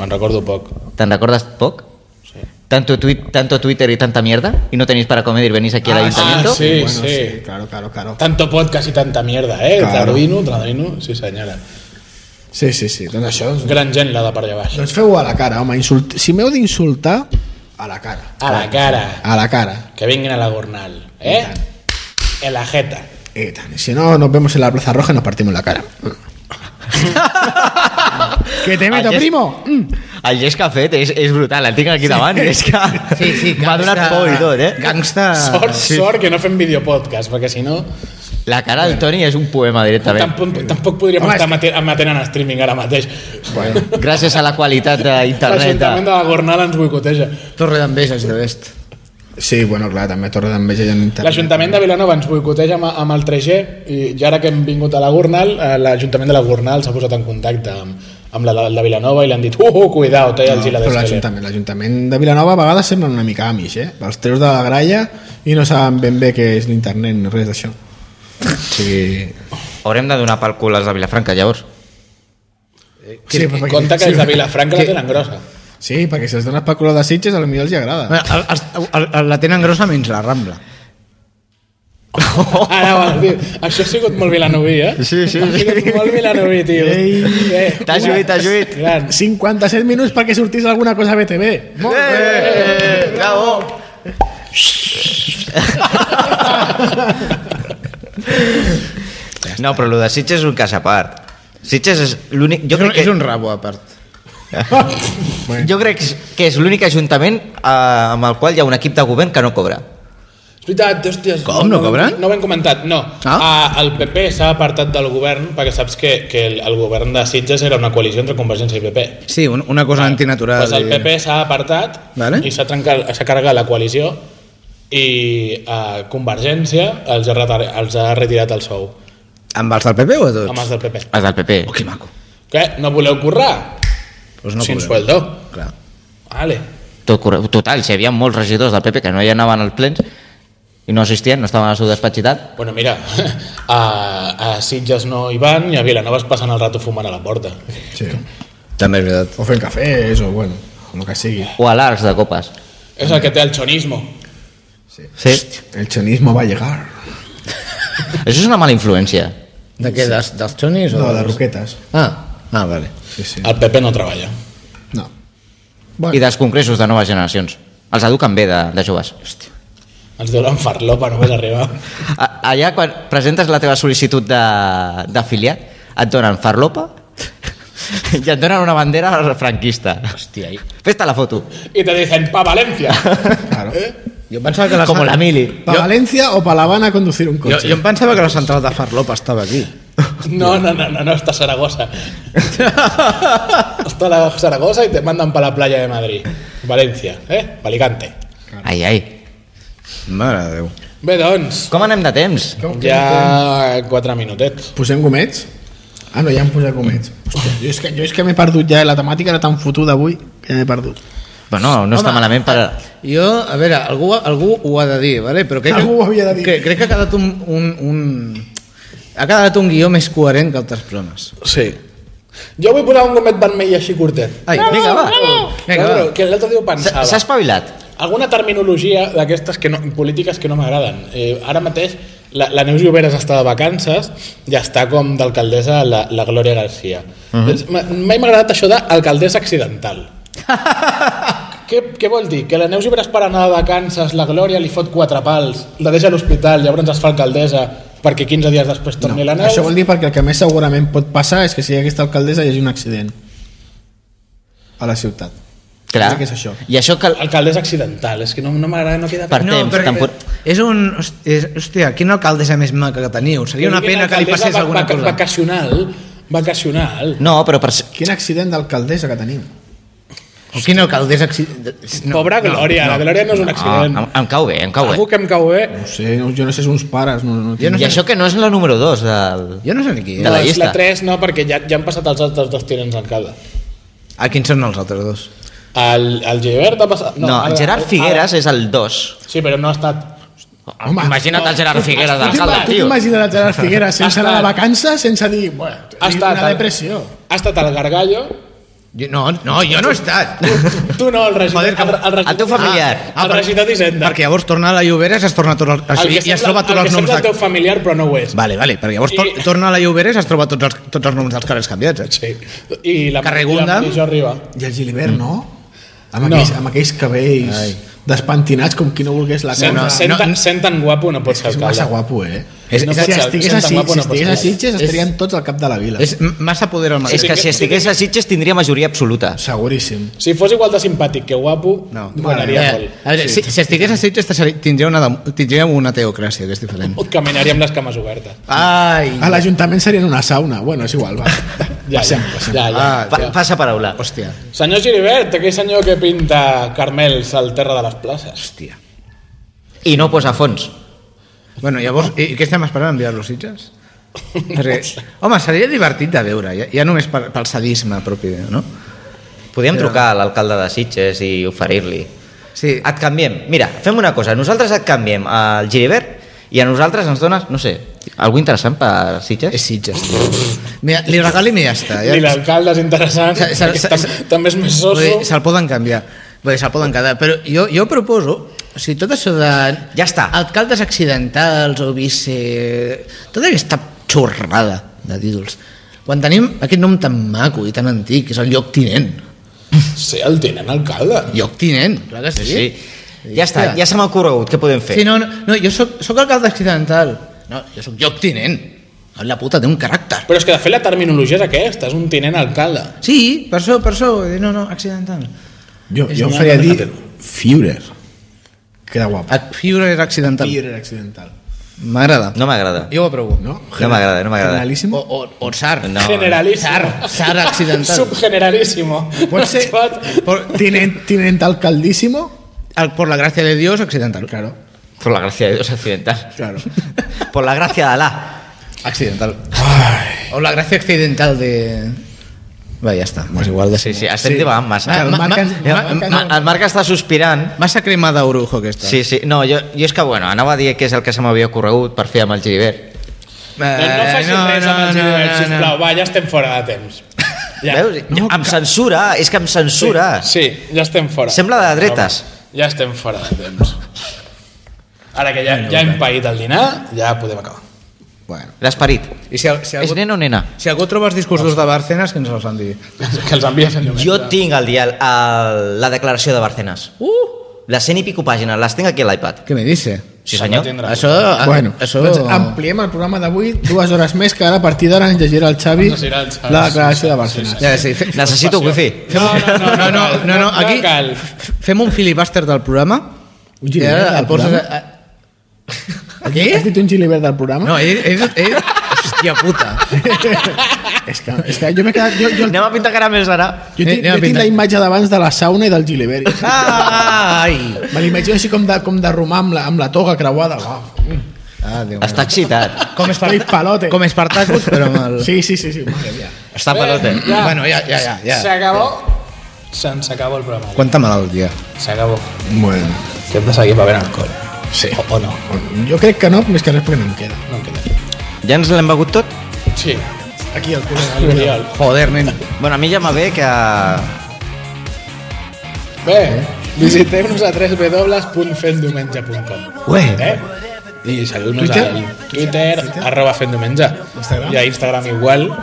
Me'n recordo poc. Te'n recordes poc? Sí. Tanto, tuit, tanto Twitter y tanta mierda y no tenéis para comer y venís aquí al ayuntamiento. ah, sí, bueno, sí. sí. Claro, claro, claro. Tanto podcast i tanta mierda, eh? Claro. Claro. Traduino, traduino, sí senyora. Sí, sí, sí. Doncs això... Doncs, Gran gent la de per allà baix. doncs feu-ho a la cara, home. Insult... Si m'heu d'insultar, a la cara. A la cara. A la cara. Que vinguin a la gornal, eh? En la jeta. Eh, tan. Si no, nos vemos en la Plaza Roja y nos partimos la cara. ¿Qué te meto, Ayer- primo? Mm. El gest que ha fet és, és brutal, el tinc aquí davant. Sí. És que Sí, sí, m'ha donat por i tot, eh? Gangsta... Sort, sort que no fem videopodcast, perquè si no... La cara del Toni és un poema directament. Tampoc, tampoc podríem Home, Home, estar és mate- emetent en streaming ara mateix. Bueno, Gràcies a la qualitat d'internet. L'Ajuntament de la Gornal ens boicoteja. Torre d'enveges de l'est. sí, bueno, clar, també Torre d'Enveja i en internet. L'Ajuntament de Vilanova ens boicoteja amb, amb el 3G i, i ara que hem vingut a la Gornal, eh, l'Ajuntament de la Gornal s'ha posat en contacte amb, amb la, la, la Vilanova i li han dit uh, uh, cuidao, té el No, gila Ah, però d'esquelet. l'Ajuntament l'Ajuntament de Vilanova a vegades semblen una mica amish, eh? Els treus de la gralla i no saben ben bé què és l'internet ni res d'això. O sigui... Haurem de donar pel cul als de Vilafranca, llavors. Sí, però perquè- Compte que sí, els de Vilafranca la que- tenen grossa. Sí, perquè si els dones pel color de Sitges, a lo millor els hi agrada. Bueno, el, el, el, el, la tenen grossa menys la Rambla. Oh. Ara ho has dit. Això ha sigut molt vilanoví, eh? Sí, sí, Ha sigut sí. molt vilanoví, tio. Ei. Eh, T'has una- lluit, t'has lluit. Gran. 57 minuts perquè sortís alguna cosa a BTV. Molt bé! Eh, bravo! No, però el de Sitges és un cas a part. Sitges és l'únic... Jo, És un, crec que, és un rabo, a part. Bueno. jo crec que és l'únic ajuntament eh, amb el qual hi ha un equip de govern que no cobra. És veritat, hòsties. Com? No cobren? No ho hem comentat, no. Ah. Ah, el PP s'ha apartat del govern perquè saps que, que el, el govern de Sitges era una coalició entre Convergència i PP. Sí, un- una cosa antinatural. Pues el i- PP s'ha apartat Vale. i s'ha trencat- s'ha carregat la coalició i eh, Convergència els ha, retar- els ha retirat el sou Amb els del PP o a tots? amb els del PP. Els Ah, del PP. Oh, que maco. Què? No voleu currar? Pues No Sin cobrem. sueldo. Clar. Vale. Tot, corre- total, si hi havia molts regidors del PP que no hi anaven als plens i no assistien, no estaven al seu despatx i tal, Bueno, mira, a, a Sitges no hi van i a Vilanova es passen el rato fumant a la porta. Sí. També és veritat. O fent cafès, o bueno, el que sigui. o a l'arts de copes. És el que té el xonismo. Sí. El chonismo va a llegar. Això és una mala influència. De què? Dels, dels xonis? o No, de dels- roquetes. Ah, ah, vale. Sí, sí. El PP no treballa. No. I dels congressos de noves generacions. Els eduquen bé de, de joves. Ens donen farlopa només arribar. A- Allà, quan presentes la teva sol·licitud de- d'afiliat, et donen farlopa i et donen una bandera franquista. Hòstia, i- Fes-te la foto, I te dicen, pa València. Claro. jo pensava que la... com cen- la mili. ¿Para Valencia o para La Habana a conducir un Jo, coche? jo em pensava que la central de Farlopa estava aquí. No, no, no, no, no, está Zaragoza. está la Zaragoza y te mandan para la playa de Madrid. Valencia, ¿eh? Alicante. Ai, ai. Mare de Déu. Bé, doncs, Com anem de temps? ja 4 minutets. Posem gomets? Ah, no, ja hem posat gomets. Hòstia, jo és que, jo és que m'he perdut ja, eh? la temàtica era tan fotuda avui que m'he perdut. Bueno, no està Home, malament per... Jo, a veure, algú, algú ho ha de dir, vale? però crec, Algú ho havia de dir. Que, crec que ha quedat un, un, un... Ha quedat un guió més coherent que altres programes. Sí. Jo vull posar un gomet vermell així curtet. Ai, vinga, va. Vinga, No, però va. que l'altre dia ho S- pensava. S'ha espavilat. Alguna terminologia d'aquestes que no, polítiques que no m'agraden. Eh, ara mateix la, la Neus Lloberes està de vacances i està com d'alcaldessa la, la Glòria Garcia. Uh Mhm. -huh. Mai m'ha agradat això d'alcaldessa accidental. què, què vol dir? Que la Neus Lloberes per anar de vacances, la Glòria li fot quatre pals, la deixa a l'hospital, llavors es fa alcaldessa perquè 15 dies després torni la Neus? Això vol dir perquè el que més segurament pot passar és que si hi ha aquesta alcaldessa hi hagi un accident a la ciutat. Clar. Què és això? I això que... Alcaldessa accidental, és que no, no m'agrada, no queda Per bé. No, temps, perquè tampoc- és un... És, hòstia, quina alcaldessa més maca que teniu. Seria una pena que li Alcaldessa passés va- alguna vaca- cosa. Vacacional, vacacional. No, però per... s- Quin accident d'alcaldessa que tenim? O quina alcaldessa... acci- No, Pobra no, Glòria, no. la Glòria no és un Ah, accident. em, em cau bé, em cau Algú bé. que em cau bé No sé, no, jo no sé, són uns pares. No, no, Jo no I sé. això que no és la número 2 del... Jo no sé ni qui. De la és. és llista. la 3 no, perquè ja, ja han passat els altres dos tirants d'alcalde. Ah, quins són els altres dos? El, el Gilbert ha passat... No, el ara- Gerard ara- Figueres és el 2. Sí, però no ha estat... Home, Imagina't el Gerard Figueres Tu t'ima- d'alcalde, tu tio. t'imagines el Gerard Figueres sense anar de estat- vacances, sense dir, bueno, Ha una estat, el- depressió. Ha estat el Gargallo. Jo, no, no, jo no he estat. Tu no, el regidor. Joder, que- el, el, regidor, el teu familiar. Ah, el regidor d'Hisenda. Perquè llavors torna a la Lloberes, es torna tot el, El i, que i es troba tots el els que noms sembla el de... teu familiar, però no ho és. Vale, vale, perquè llavors tor I- torna a la Lloberes, es troba tots els, tots els noms dels carrers canviats, eh? Sí. I la Carrer Gundam. I jo arriba. I el Gilibert, mm. no? Amb aquells, No. amb aquells cabells Ai. despentinats com qui no volgués la Sent, cosa. no, No, sent, no. tan- sent tan guapo no pot ser és massa alcalde. guapo, eh? És- no és- si és- estigués és- a Sitges, és- si estigués a Sitges és- estarien tots al cap de la vila. És, És m- massa poder al mateix. És que si estigués a Sitges tindria majoria absoluta. Seguríssim. Si fos igual de simpàtic que guapo, No. guanyaria Eh, molt. a veure, si, si estigués a Sitges estaria- tindria una, dem- tindria una teocràcia, que és diferent. Caminaria amb les cames obertes. Ai! A l'Ajuntament serien una sauna. Bueno, és igual, va. Ja, passem, ja, passem. ja, ja, Ah, ja. Pa passa paraula. Hòstia, Senyor Giribert, aquell senyor que pinta carmels al terra de les places. hòstia. I no posa fons. Bueno, llavors, i, i què estem esperant, enviar-lo a Sitges? Perquè, home, seria divertit de veure, ja, ja només per, pel sadisme propi, no? Podríem trucar a l'alcalde de Sitges i oferir-li. Sí, Et canviem. Mira, fem una cosa. Nosaltres et canviem al Giribert i a nosaltres ens dones, no sé, algú interessant per és Sitges? Sitges. Mira, li regalim i ja està. Ja. Ja. Ni l'alcalde és interessant, Se- se- perquè se- tam- se- també és més Vull dir, soso. Se'l poden canviar. Vull dir, se'l poden quedar. Però jo, jo proposo, o sigui, tot això de... Ja està. Alcaldes accidentals o vice... Tota aquesta xorrada de títols. Quan tenim aquest nom tan maco i tan antic, que és el lloc tinent. Sí, el tenen alcalde. Lloc tinent, clar que sí. Sí. Ja està, ja se m'ha ocorregut. Què podem fer? Sí, no, no, no jo sóc, sóc alcalde accidental. No, jo sóc lloc tinent. La puta té un caràcter. Però és que de fet la terminologia és aquesta, és un tinent alcalde. Sí, per això, per això. vull dir, No, no, accidental. Jo, És jo em una faria cosa dir Führer. Queda guapo. Fiure era accidental. Fiore accidental. M'agrada. No m'agrada. Jo ho aprovo. No? No m'agrada, no m'agrada. Generalísimo. O, o, o Sar. No. Generalísimo. Sar accidental. Subgeneralísimo. Pot ser- Pot- Por- Tinen- tinent alcaldísimo. Al- Ah, por la gracia de Dios, accidental. Claro, Por la gracia de Dios accidental. claro. Por la gracia de Alá. Accidental. O la gracia accidental de... Va, ja està. M'és igual de ser. Sí, sí, estem sí. divagant massa. Clar, el Ma- Marc ma- ens- ma- Marc ens- ma- El Marc està sospirant. Massa cremada orujo aquesta. Sí, sí. No, jo, jo és que, bueno, anava a dir que és el que se m'havia ocorregut per fer amb el Eh, Giribert. No, Doncs no facis res amb el Gilbert, sisplau. Va, ja estem fora de temps. Ja. Veus? No, em censura, és que em censura. Sí. Sí, ja estem fora. Sembla de dretes. Ja estem fora de temps. Ara que ja, ja hem paït el dinar, ja podem acabar. Bueno. L'esperit. I si, si, És algú, nen o nena? si algú troba els discursos de Bárcenas, que ens els han dit. Que els envies en diumenge. Jo tinc el dia, el, la declaració de Barcenas. Uh! Les 100 i pico pàgines, les tinc aquí a l'iPad. Què me dice? Sí, senyor. tindrà. Això, Bueno, això... doncs ampliem el programa d'avui dues hores més, que ara a partir d'ara ens llegirà el Xavi Ens llegirà el Xavi, la declaració de sí, Barcelona. Ja, sí, fe- Necessito wifi. No, no, No, no, no, no, no, aquí cal. f- fem un filibuster del programa. Un gilibert I ara del el poses programa? A... a... Què? Has dit un gilibert del programa? No, he, he, he, hòstia puta. És que, és que jo m'he quedat... Jo, jo, Anem a pintar caramels ara. jo, tinc, Anem a jo tinc pintar. la imatge d'abans de la sauna i del gilibert. Ah, Ai! Me l'imagino així com de, com de romà amb la, amb la toga creuada. Uau, Ah, Déu meu. Està excitat. Com Estoy Espartac, palote. com Espartacus, però amb el... Sí, sí, sí, sí, madre mía. Està pelote. Ja. Bueno, ja, ja, ja. ja. S'acabó. Se'ns acabó el programa. Quanta malaltia. S'acabó. Bueno, Que hem de seguir bevent alcohol. sí. O, o no, Jo crec que no, més que res perquè no em queda. no en queda. Ja ens l'hem begut tot? Sí, Aquí el col·lega. Oriol. Joder, nen. Bueno, a mi ja me ve que... Bé, visiteu-nos a www.fendiumenge.com Ué! eh? I seguiu-nos Twitter? a Twitter, arroba fendiumenge. Instagram? I a Instagram igual.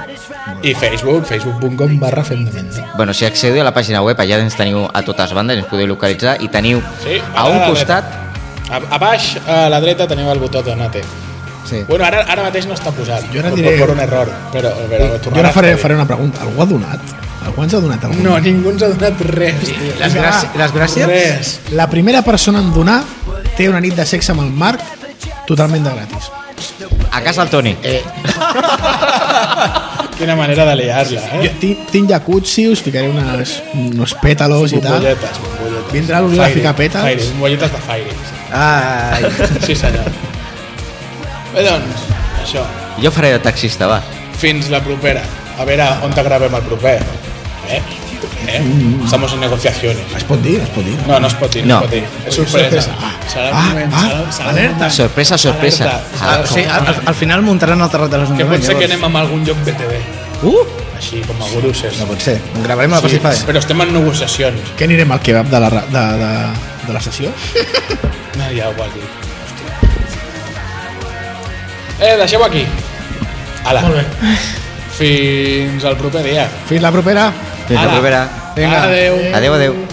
I Facebook, facebook.com barra fendiumenge. Bueno, si accedeu a la pàgina web, allà ens teniu a totes bandes, ens podeu localitzar i teniu Sí, a un a la costat... A, a baix, a la dreta, teniu el botó Donate. Sí. Bueno, ara, ara mateix no està posat. Jo ara per- diré- Per, un error, però, però Jo ara faré, faré una pregunta. Algú ha donat? Algú ens ha donat algú? No, ningú ens ha donat res, tio. Les, gràcies, les gràcies... Res. La primera persona en donar té una nit de sexe amb el Marc totalment de gratis. A casa el Toni. Eh. Quina manera de liar-la, eh? Jo tinc, tinc jacuzzi, us ficaré unes, uns pètalos i tal. Bombolletes, bombolletes. Vindrà l'Oriol a Fairy, ficar pètals. Fairy, bombolletes de Fairy. sí. Ai. Sí, senyor. Bé, doncs, això. Jo faré de taxista, va. Fins la propera. A veure on te gravem el proper. Eh? Eh? Estamos en negociaciones. Es pot dir, es pot dir. No, no es pot dir, no, No. es pot dir. És sorpresa. sorpresa. Ah, Serà ah, un moment, ah, serà- serà un alerta. moment. Sorpresa, sorpresa. Alerta. Ah, O sigui, al, al final muntaran el terrat de Que l'Ajuntament. pot ser que llavors. anem a algun lloc BTV. Uh! Així, com a guruses. No pot ser. Gravarem la sí. Sí, però estem en negociacions. Què anirem al kebab de la, ra- de, de, de la sessió? No, ja ho has dit. Hòstia. Eh, deixeu aquí. Ala. Molt bé. Fins al proper dia. Fins la propera. Fins la Ala. propera. Adeu. Adeu, adeu.